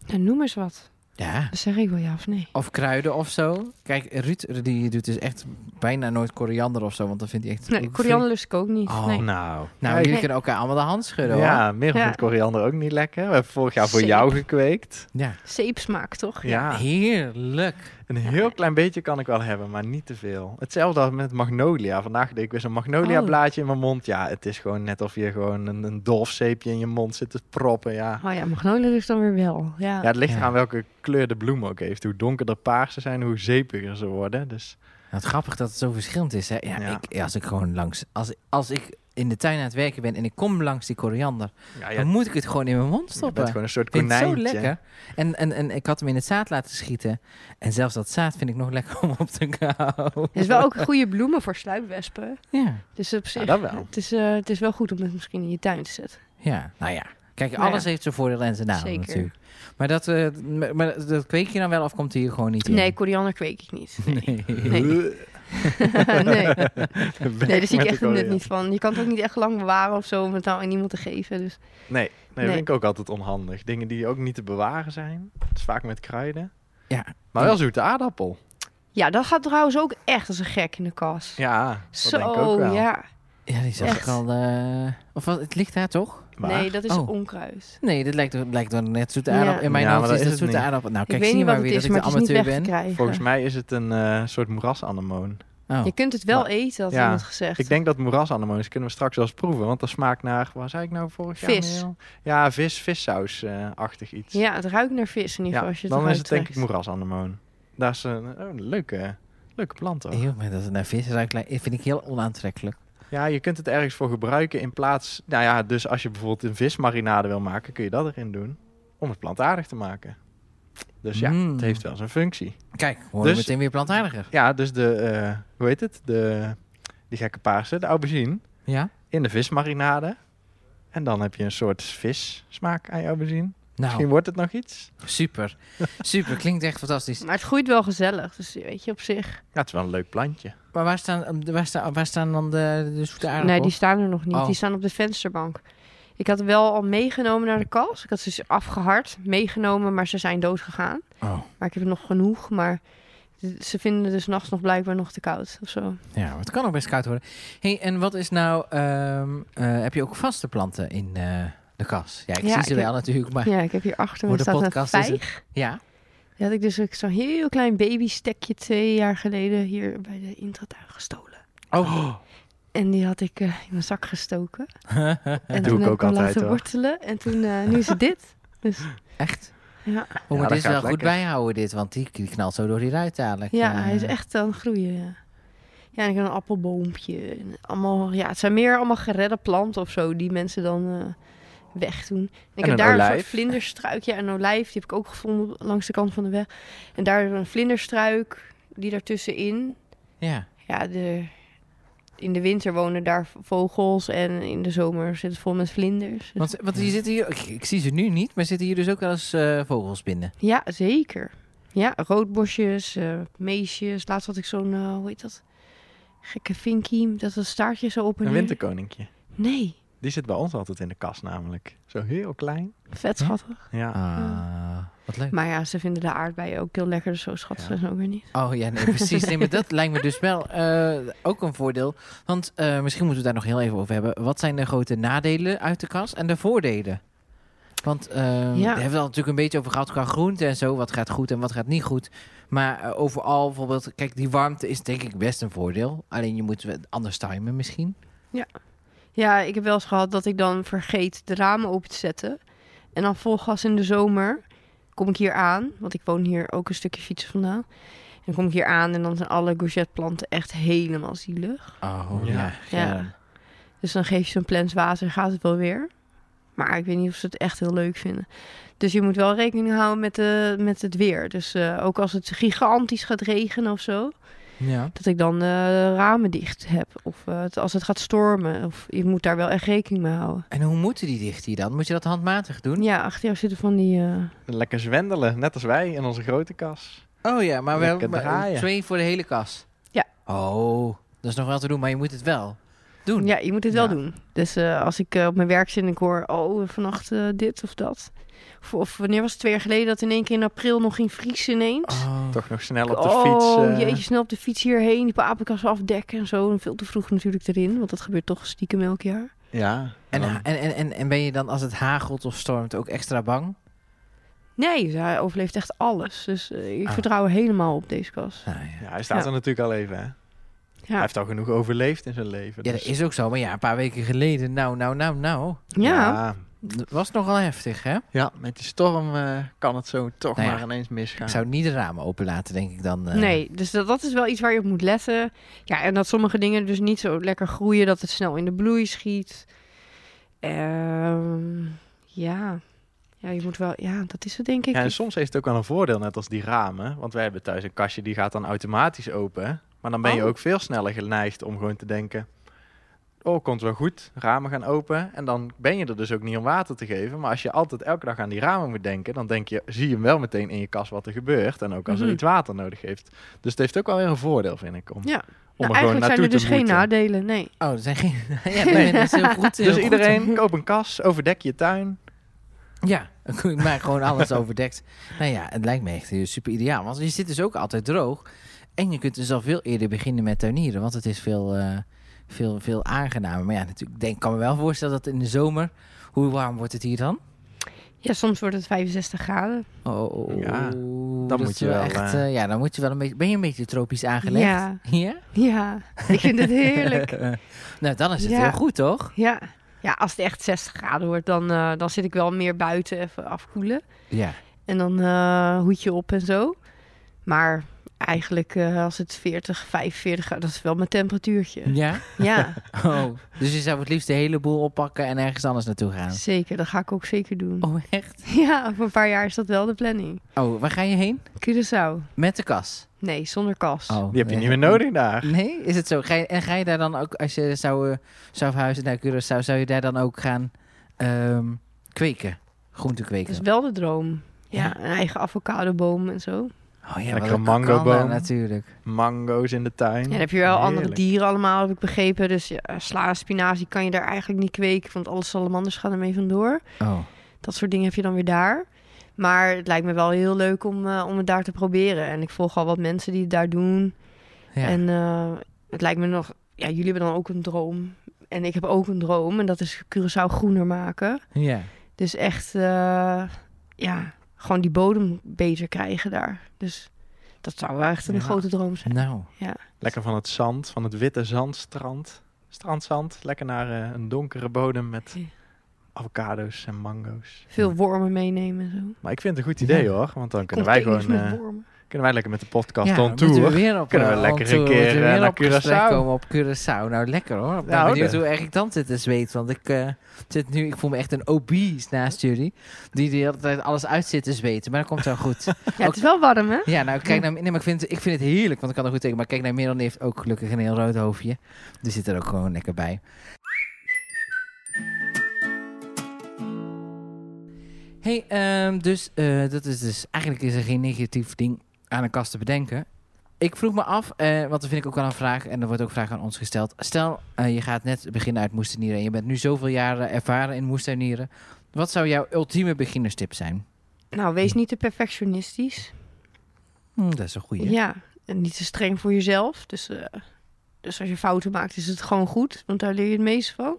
Speaker 4: Nou, noem eens wat.
Speaker 2: Ja.
Speaker 4: Dan zeg ik wel ja of nee.
Speaker 2: Of kruiden of zo. Kijk, Ruud die doet dus echt bijna nooit koriander of zo. Want dan vindt hij echt...
Speaker 4: Nee, koriander lust ik ook niet.
Speaker 2: Oh,
Speaker 4: nee.
Speaker 3: Nou,
Speaker 2: Nou,
Speaker 3: kijk.
Speaker 2: jullie
Speaker 4: Nee.
Speaker 2: kunnen elkaar allemaal de hand schudden, hoor.
Speaker 3: ja, Merel
Speaker 4: Ja.
Speaker 3: vindt koriander ook niet lekker. We hebben vorig jaar voor
Speaker 4: Zeep.
Speaker 3: jou gekweekt.
Speaker 2: Ja.
Speaker 4: Zeepsmaak, toch?
Speaker 3: Ja.
Speaker 2: Heerlijk.
Speaker 3: Een heel klein beetje kan ik wel hebben, maar niet te veel. Hetzelfde als met magnolia. Vandaag deed ik weer zo'n magnolia
Speaker 4: Oh.
Speaker 3: blaadje in mijn mond. Ja, het is gewoon net of je gewoon een, een dolfzeepje in je mond zit te proppen. Ja,
Speaker 4: Oh ja, magnolia lust dan weer wel. Ja.
Speaker 3: ja het ligt
Speaker 2: Ja.
Speaker 3: aan welke kleur de bloem ook heeft. Hoe donkerder paars ze zijn, hoe zeepiger ze worden. Dus
Speaker 2: Nou, het grappig dat het zo verschillend is. Hè? Ja,
Speaker 3: Ja.
Speaker 2: Ik, ja, als ik gewoon langs. Als, als ik in de tuin aan het werken ben en ik kom langs die koriander,
Speaker 3: ja, je,
Speaker 2: dan moet ik het gewoon in mijn mond
Speaker 3: je
Speaker 2: stoppen.
Speaker 3: bent gewoon een soort
Speaker 2: ik vind het
Speaker 3: konijntje.
Speaker 2: zo lekker. En, en, en ik had hem in het zaad laten schieten. En zelfs dat zaad vind ik nog lekker om op te kauwen.
Speaker 4: Het is wel ook goede bloemen voor sluipwespen.
Speaker 2: Ja,
Speaker 4: Dus op zich,
Speaker 3: Ja, dat wel.
Speaker 4: Het, is, eh, het is wel goed om het misschien in je tuin te zetten.
Speaker 2: ja. nou ja. Kijk,
Speaker 4: Nou ja.
Speaker 2: alles heeft zijn voordelen en zijn nadelen
Speaker 4: Zeker.
Speaker 2: natuurlijk. Maar dat, eh, m- maar dat kweek je dan wel of komt hij hier gewoon niet in?
Speaker 4: Nee, koriander kweek ik niet.
Speaker 2: Nee.
Speaker 4: Nee. nee.
Speaker 3: Weg
Speaker 4: nee, daar
Speaker 3: met de
Speaker 4: zit je echt het nut
Speaker 3: koriander.
Speaker 4: niet van. Je kan het ook niet echt lang bewaren of zo om het nou aan iemand te geven. Dus.
Speaker 3: Nee, nee, dat
Speaker 4: Nee.
Speaker 3: vind ik ook altijd onhandig. Dingen die ook niet te bewaren zijn. Dat is vaak met kruiden.
Speaker 2: Ja.
Speaker 3: Maar wel zoete aardappel.
Speaker 4: Ja, dat gaat trouwens ook echt als een gek in de kast.
Speaker 3: Ja, dat
Speaker 4: zo,
Speaker 3: denk ik ook wel.
Speaker 4: ja.
Speaker 2: Ja, die zag ik
Speaker 4: Echt.
Speaker 2: al. eh, of wat, het ligt daar toch?
Speaker 3: Maar-
Speaker 4: Nee, dat is
Speaker 2: Oh.
Speaker 4: onkruid.
Speaker 2: Nee, dit lijkt, lijkt wel net zoete
Speaker 4: Ja.
Speaker 2: aardappel. In mijn
Speaker 3: Ja,
Speaker 2: hoofd
Speaker 3: maar dat
Speaker 2: is
Speaker 3: is
Speaker 2: dat
Speaker 3: het
Speaker 2: zoete
Speaker 3: niet.
Speaker 2: aardappel. Nou,
Speaker 4: ik
Speaker 2: kijk,
Speaker 4: weet
Speaker 2: zie je
Speaker 4: niet
Speaker 2: maar
Speaker 4: wat
Speaker 2: weer
Speaker 4: het
Speaker 2: dat
Speaker 4: is,
Speaker 2: ik
Speaker 4: maar
Speaker 2: de
Speaker 4: het is niet
Speaker 2: amateur
Speaker 4: weg
Speaker 2: ben.
Speaker 4: te krijgen.
Speaker 3: Volgens mij is het een eh, soort moerasanemoon.
Speaker 2: Oh.
Speaker 4: Je kunt het wel
Speaker 3: Maar-
Speaker 4: eten, had
Speaker 3: Ja,
Speaker 4: iemand gezegd.
Speaker 3: Ik denk dat moerasanemoons kunnen we straks wel eens proeven. Want dat smaakt naar, waar zei ik nou vorig jaar?
Speaker 4: Vis.
Speaker 3: Merel? Ja, vis, vissaus-achtig iets.
Speaker 4: Ja, het ruikt naar vis in ieder geval.
Speaker 3: Ja,
Speaker 4: als je het
Speaker 3: dan is
Speaker 4: eruit
Speaker 3: het denk ik
Speaker 4: trekt.
Speaker 3: moerasanemoon. Dat is een, oh, een leuke, leuke plant ook.
Speaker 2: Eeuw, maar dat het naar vis ruikt, lijkt- vind ik heel onaantrekkelijk.
Speaker 3: Ja, je kunt het ergens voor gebruiken in plaats... Nou ja, dus als je bijvoorbeeld een vismarinade wil maken, kun je dat erin doen. Om het plantaardig te maken. Dus ja,
Speaker 4: Hmm.
Speaker 2: Mm.
Speaker 3: het heeft wel zijn functie.
Speaker 2: Kijk, worden we
Speaker 3: Dus-
Speaker 2: meteen weer plantaardiger.
Speaker 3: Ja, dus de, eh, hoe heet het? De, die gekke paarse, de aubergine.
Speaker 2: Ja?
Speaker 3: in de vismarinade. En dan heb je een soort vissmaak aan je aubergine. Misschien
Speaker 2: Nou,
Speaker 3: wordt het nog iets.
Speaker 2: super. Super, klinkt echt fantastisch.
Speaker 4: Maar het groeit wel gezellig, dus weet je, op zich.
Speaker 3: Ja, het is wel een leuk plantje.
Speaker 2: Maar waar staan, ehm, waar staan, waar staan dan de, de zoete aardappels?
Speaker 4: Nee, die staan er nog niet.
Speaker 2: Oh.
Speaker 4: Die staan op de vensterbank. Ik had wel al meegenomen naar de kas. Ik had ze dus afgehard, meegenomen, maar ze zijn dood gegaan.
Speaker 2: Oh,
Speaker 4: Maar ik heb er nog genoeg, maar ze vinden het dus nachts nog blijkbaar nog te koud of zo.
Speaker 2: ja, maar het kan ook best koud worden. hey, en wat is nou... ehm, eh, heb je ook vaste planten in eh, de kas? Ja, ik
Speaker 4: Ja,
Speaker 2: zie
Speaker 4: ik
Speaker 2: ze
Speaker 4: heb-
Speaker 2: wel natuurlijk, maar... Ja.
Speaker 4: Ja, ik heb hier achter
Speaker 2: Ah. Voor
Speaker 4: me
Speaker 2: de
Speaker 4: staat een
Speaker 2: podcast is het-
Speaker 4: vijg. Die had ik dus ook zo'n heel klein babystekje twee jaar geleden hier bij de intratuin gestolen.
Speaker 2: Oh,
Speaker 4: En die had ik eh, in mijn zak gestoken. En
Speaker 3: doe
Speaker 4: toen
Speaker 3: ik
Speaker 4: heb
Speaker 3: ook
Speaker 4: ik hem
Speaker 3: altijd,
Speaker 4: laten
Speaker 3: hoor.
Speaker 4: wortelen. En toen, eh, nu is het dit. Dus
Speaker 2: echt?
Speaker 4: ja,
Speaker 2: Oh, maar
Speaker 3: dat
Speaker 2: dit is wel
Speaker 3: gaat
Speaker 2: goed
Speaker 3: lekker.
Speaker 2: bijhouden, dit. Want die die knalt zo door die ruit dadelijk.
Speaker 4: ja
Speaker 2: eh.
Speaker 4: hij is echt aan het groeien. Ja, ja en ik heb een appelboompje. En allemaal, ja, het zijn meer allemaal geredde planten of zo die mensen dan eh wegdoen. En ik
Speaker 3: En
Speaker 4: heb
Speaker 3: een
Speaker 4: daar een soort
Speaker 3: olijf.
Speaker 4: vlinderstruik. Ja, een olijf. Die heb ik ook gevonden langs de kant van de weg. En daar een vlinderstruik die daartussenin.
Speaker 2: Ja.
Speaker 4: Ja, de, in de winter wonen daar vogels en in de zomer zit het vol met vlinders. Dus
Speaker 2: Want, want die zitten hier, ik, ik zie ze nu niet, maar zitten hier dus ook wel eens eh, vogels binnen.
Speaker 4: Ja, zeker. Ja, roodbosjes, eh, meesjes. Laatst had ik zo'n, eh, hoe heet dat? Gekke vinkie, dat het staartje zo op en
Speaker 3: Een
Speaker 4: neer-
Speaker 3: winterkoninkje.
Speaker 4: Nee,
Speaker 3: Die zit bij ons altijd in de kast namelijk. Zo heel klein.
Speaker 4: Vet schattig.
Speaker 3: Ja.
Speaker 2: Ah, wat leuk.
Speaker 4: Maar ja, ze vinden de aardbeien ook heel lekker, dus zo schattig
Speaker 3: Ja.
Speaker 4: zijn ze ook weer niet.
Speaker 2: Oh ja, nee, precies. Nee, maar dat lijkt me dus wel eh, ook een voordeel. Want eh, misschien moeten we het daar nog heel even over hebben. Wat zijn de grote nadelen uit de kast en de voordelen? Want eh, daar hebben we het al natuurlijk een beetje over gehad qua groente en zo. Wat gaat goed en wat gaat niet goed. Maar eh, overal bijvoorbeeld, kijk, die warmte is denk ik best een voordeel. Alleen je moet het anders timen misschien.
Speaker 4: Ja, ik heb wel eens gehad dat ik dan vergeet de ramen open te zetten. En dan vol gas in de zomer kom ik hier aan, want ik woon hier ook een stukje fietsen vandaan. En dan kom ik hier aan en dan zijn alle courgetteplanten echt helemaal zielig.
Speaker 2: Oh
Speaker 3: Ja.
Speaker 4: Ja. Dus dan geef je zo'n plens water, gaat het wel weer. Maar ik weet niet of ze het echt heel leuk vinden. Dus je moet wel rekening houden met, de, met het weer. Dus eh, ook als het gigantisch gaat regenen of zo,
Speaker 2: ja.
Speaker 4: dat ik dan eh, de ramen dicht heb. Of eh, het- als het gaat stormen. Of je moet daar wel echt rekening mee houden.
Speaker 2: En hoe moeten die dicht hier dan? Moet je dat handmatig doen?
Speaker 4: Ja, achter jou zitten van die... eh,
Speaker 3: Lekker zwendelen, net als wij in onze grote kas.
Speaker 2: Oh ja, maar wel
Speaker 3: Lekker
Speaker 2: maar
Speaker 3: draaien.
Speaker 2: twee voor de hele kas.
Speaker 4: Ja.
Speaker 2: Oh, dat is nog wel te doen, maar je moet het wel doen.
Speaker 4: Ja, je moet het wel
Speaker 2: Ja.
Speaker 4: doen. Dus eh, als ik eh, op mijn werk zit en ik hoor, oh, vannacht eh, dit of dat. Of, of wanneer was het twee jaar geleden dat in één keer in april nog ging vriezen ineens?
Speaker 2: Oh.
Speaker 3: Toch nog snel op de
Speaker 4: oh,
Speaker 3: fiets. eh,
Speaker 4: jeetje, snel op de fiets hierheen, die paprika's afdekken en zo. En veel te vroeg natuurlijk erin, want dat gebeurt toch stiekem elk jaar.
Speaker 3: Ja.
Speaker 2: En,
Speaker 3: dan-
Speaker 2: ha- en, en, en, en ben je dan als het hagelt of stormt ook extra bang?
Speaker 4: Nee, hij overleeft echt alles. Dus eh, ik
Speaker 2: Ah.
Speaker 4: vertrouw er helemaal op deze kast.
Speaker 2: Nou, ja.
Speaker 3: ja, hij staat
Speaker 4: Ja.
Speaker 3: er natuurlijk al even. Hè? Hij
Speaker 4: Ja,
Speaker 3: heeft al genoeg overleefd in zijn leven.
Speaker 2: ja,
Speaker 3: dus-
Speaker 2: dat is ook zo. Maar ja, een paar weken geleden, nou, nou, nou, nou.
Speaker 4: ja.
Speaker 3: ja.
Speaker 2: Dat was nogal heftig, hè?
Speaker 3: Ja, met die storm eh, kan het zo toch
Speaker 2: Nou ja.
Speaker 3: maar ineens misgaan.
Speaker 2: Ik zou niet de ramen open laten, denk ik dan. eh.
Speaker 4: nee, dus dat, dat is wel iets waar je op moet letten. Ja, en dat sommige dingen dus niet zo lekker groeien, dat het snel in de bloei schiet. Ehm, ja. ja, je moet wel, ja, dat is het denk ik.
Speaker 3: Ja, dus en soms heeft het ook wel een voordeel, net als die ramen. Want wij hebben thuis een kastje die gaat dan automatisch open. Maar dan ben je
Speaker 4: Oh.
Speaker 3: ook veel sneller geneigd om gewoon te denken... Oh, komt wel goed, ramen gaan open. En dan ben je er dus ook niet om water te geven. Maar als je altijd elke dag aan die ramen moet denken... dan denk je, zie je wel meteen in je kas wat er gebeurt. En ook als
Speaker 4: Mhm.
Speaker 3: er iets water nodig heeft. Dus het heeft ook wel weer een voordeel, vind ik. Om,
Speaker 4: Ja.
Speaker 3: om
Speaker 4: Nou,
Speaker 3: er gewoon
Speaker 4: eigenlijk zijn
Speaker 3: naartoe
Speaker 4: er
Speaker 3: te
Speaker 4: dus geen
Speaker 3: moeten.
Speaker 4: nadelen, nee.
Speaker 2: Oh, er zijn geen. ja, nee, dat is heel goed. heel
Speaker 3: Dus
Speaker 2: goed.
Speaker 3: iedereen, koop een kas, overdek je tuin.
Speaker 2: Ja, maar gewoon alles overdekt. Nou ja, het lijkt me echt eh, super ideaal. Want je zit dus ook altijd droog. En je kunt dus al veel eerder beginnen met tuinieren. Want het is veel, eh, veel, veel aangenamer. Maar ja, natuurlijk, denk, ik kan me wel voorstellen dat in de zomer... Hoe warm wordt het hier dan?
Speaker 4: Ja, soms wordt het 65 graden.
Speaker 2: Oh,
Speaker 3: Ja,
Speaker 2: dan
Speaker 3: moet je wel,
Speaker 2: echt,
Speaker 3: eh,
Speaker 2: eh, ja, dan moet je wel een beetje... Ben je een beetje tropisch aangelegd?
Speaker 4: Ja.
Speaker 2: Ja?
Speaker 4: Ja, ik vind het heerlijk.
Speaker 2: nou, dan is het
Speaker 4: Ja.
Speaker 2: heel goed, toch?
Speaker 4: Ja, ja als het echt 60 graden wordt, dan, eh, dan zit ik wel meer buiten even afkoelen.
Speaker 2: Ja.
Speaker 4: En dan eh, hoedje op en zo. Maar eigenlijk eh, als het 40, 45 graden, dat is wel mijn temperatuurtje.
Speaker 2: Ja?
Speaker 4: Ja,
Speaker 2: Oh. Dus je zou het liefst de hele boel oppakken en ergens anders naartoe gaan?
Speaker 4: zeker. Dat ga ik ook zeker doen.
Speaker 2: Oh, echt?
Speaker 4: Ja, over een paar jaar is dat wel de planning.
Speaker 2: Oh, waar ga je heen?
Speaker 4: Curaçao.
Speaker 2: Met de kas?
Speaker 4: Nee, zonder kast.
Speaker 2: Oh,
Speaker 3: Die heb je
Speaker 2: eh,
Speaker 3: niet meer nodig daar.
Speaker 2: Nee, is het zo? Ga je, en ga je daar dan ook, als je zou, eh, zou verhuizen naar Curaçao, zou je daar dan ook gaan ehm, kweken? Groente
Speaker 4: Dat
Speaker 2: kweken?
Speaker 4: is wel de droom. Ja,
Speaker 2: Ja.
Speaker 4: een eigen avocadoboom en zo.
Speaker 2: oh ja,
Speaker 3: Lekker
Speaker 2: wat
Speaker 3: een
Speaker 2: ook kan daar
Speaker 3: mangoboom.
Speaker 2: natuurlijk.
Speaker 3: Mango's in de tuin.
Speaker 4: Ja, dan heb je wel andere
Speaker 3: Heerlijk.
Speaker 4: dieren allemaal, heb ik begrepen. Dus ja, sla en spinazie kan je daar eigenlijk niet kweken, want alle salamanders gaan ermee vandoor.
Speaker 2: Oh.
Speaker 4: Dat soort dingen heb je dan weer daar. Maar het lijkt me wel heel leuk om, eh, om het daar te proberen. En ik volg al wat mensen die het daar doen.
Speaker 2: Ja.
Speaker 4: En eh, het lijkt me nog... Ja, jullie hebben dan ook een droom. En ik heb ook een droom. En dat is Curaçao groener maken.
Speaker 2: ja.
Speaker 4: Dus echt, eh, ja, gewoon die bodem beter krijgen daar. Dus dat zou wel echt een
Speaker 3: Ja.
Speaker 4: grote droom zijn.
Speaker 2: Nou,
Speaker 3: Lekker van het zand, van het witte zandstrand. Strandzand, lekker naar eh, een donkere bodem met
Speaker 4: Ja.
Speaker 3: avocado's en mango's.
Speaker 4: Veel wormen meenemen en zo.
Speaker 3: Maar ik vind het een goed idee
Speaker 2: Ja.
Speaker 3: hoor, want dan kunnen wij gewoon eh, kunnen wij lekker met de podcast
Speaker 2: ja,
Speaker 3: on
Speaker 2: dan moeten we
Speaker 3: tour.
Speaker 2: weer op,
Speaker 3: Kunnen we
Speaker 2: eh,
Speaker 3: lekker
Speaker 2: on tour,
Speaker 3: een keer,
Speaker 2: moeten we
Speaker 3: eh,
Speaker 2: weer
Speaker 3: naar
Speaker 2: op gesprek
Speaker 3: Curaçao.
Speaker 2: komen op Curaçao. Nou, lekker hoor. Ik ben
Speaker 3: Nou,
Speaker 2: benieuwd
Speaker 3: dat-
Speaker 2: hoe erg ik dan zit te zweten. Want ik, eh, zit nu, ik voel me echt een obese naast jullie. Die de hele tijd alles uit zit te zweten. Maar dat komt wel goed.
Speaker 4: Ja, het is wel warm, hè?
Speaker 2: Ja, nou, kijk naar, nee, maar ik vind, het- ik vind het heerlijk, want ik kan er goed tegen. Maar kijk naar Merel, die heeft ook gelukkig een heel rood hoofdje. Die zit er ook gewoon lekker bij. hey, ehm, dus eh, dat is dus, eigenlijk is er geen negatief ding aan een kast te bedenken. Ik vroeg me af, eh, want dat vind ik ook wel een vraag en er wordt ook vraag aan ons gesteld. Stel, eh, je gaat net beginnen uit moestenieren en je bent nu zoveel jaren ervaren in moestenieren. Wat zou jouw ultieme beginnerstip zijn?
Speaker 4: Nou, wees niet te perfectionistisch.
Speaker 2: Hm, dat is een goeie.
Speaker 4: Ja, en niet te streng voor jezelf. Dus, eh, dus als je fouten maakt, is het gewoon goed. Want daar leer je het meest van.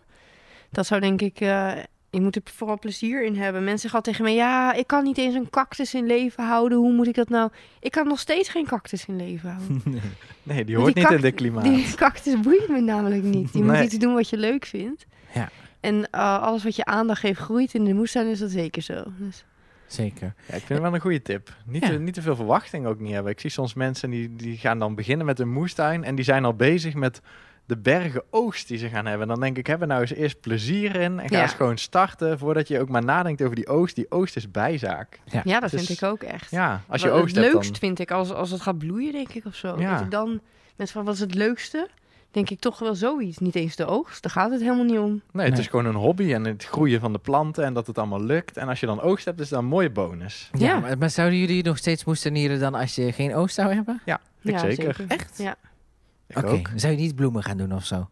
Speaker 4: Dat zou denk ik... eh, je moet er vooral plezier in hebben. Mensen gaan tegen mij... Ja, ik kan niet eens een cactus in leven houden. Hoe moet ik dat nou... Ik kan nog steeds geen cactus in leven houden.
Speaker 3: Nee, die hoort
Speaker 4: Want die
Speaker 3: niet in
Speaker 4: kak-
Speaker 3: dit klimaat.
Speaker 4: Die cactus boeit me namelijk niet. Je
Speaker 3: Nee.
Speaker 4: moet iets doen wat je leuk vindt.
Speaker 2: Ja.
Speaker 4: En eh, alles wat je aandacht geeft groeit in de moestuin, is dat zeker zo. Dus,
Speaker 2: Zeker.
Speaker 3: Ja, ik vind het wel een goede tip. Niet,
Speaker 2: Ja.
Speaker 3: te, niet te veel verwachting ook niet hebben. Ik zie soms mensen die, die gaan dan beginnen met een moestuin en die zijn al bezig met de bergen oogst die ze gaan hebben. Dan denk ik, hebben nou eens eerst plezier in en ga
Speaker 4: Ja.
Speaker 3: eens gewoon starten voordat je ook maar nadenkt over die oogst. Die oogst is bijzaak.
Speaker 4: ja, dat
Speaker 3: Dus-
Speaker 4: vind ik ook echt.
Speaker 3: Ja, als je
Speaker 4: Wat
Speaker 3: oogst
Speaker 4: het
Speaker 3: hebt
Speaker 4: leukst
Speaker 3: dan...
Speaker 4: vind ik als, als het gaat bloeien, denk ik of zo.
Speaker 3: Ja.
Speaker 4: Dat ik dan mensen van wat is het leukste? Denk ik toch wel zoiets. Niet eens de oogst, daar gaat het helemaal niet om.
Speaker 3: Nee, het
Speaker 2: Nee.
Speaker 3: is gewoon een hobby en het groeien van de planten en dat het allemaal lukt. En als je dan oogst hebt, is dat een mooie bonus.
Speaker 2: Ja,
Speaker 4: Ja.
Speaker 2: Maar, maar zouden jullie nog steeds moestenieren dan als je geen oogst zou hebben?
Speaker 3: Ik
Speaker 4: ja,
Speaker 3: zeker.
Speaker 2: Echt?
Speaker 4: Ja,
Speaker 3: Ik
Speaker 2: Oké.
Speaker 3: ook.
Speaker 2: Zou je niet bloemen gaan doen of zo?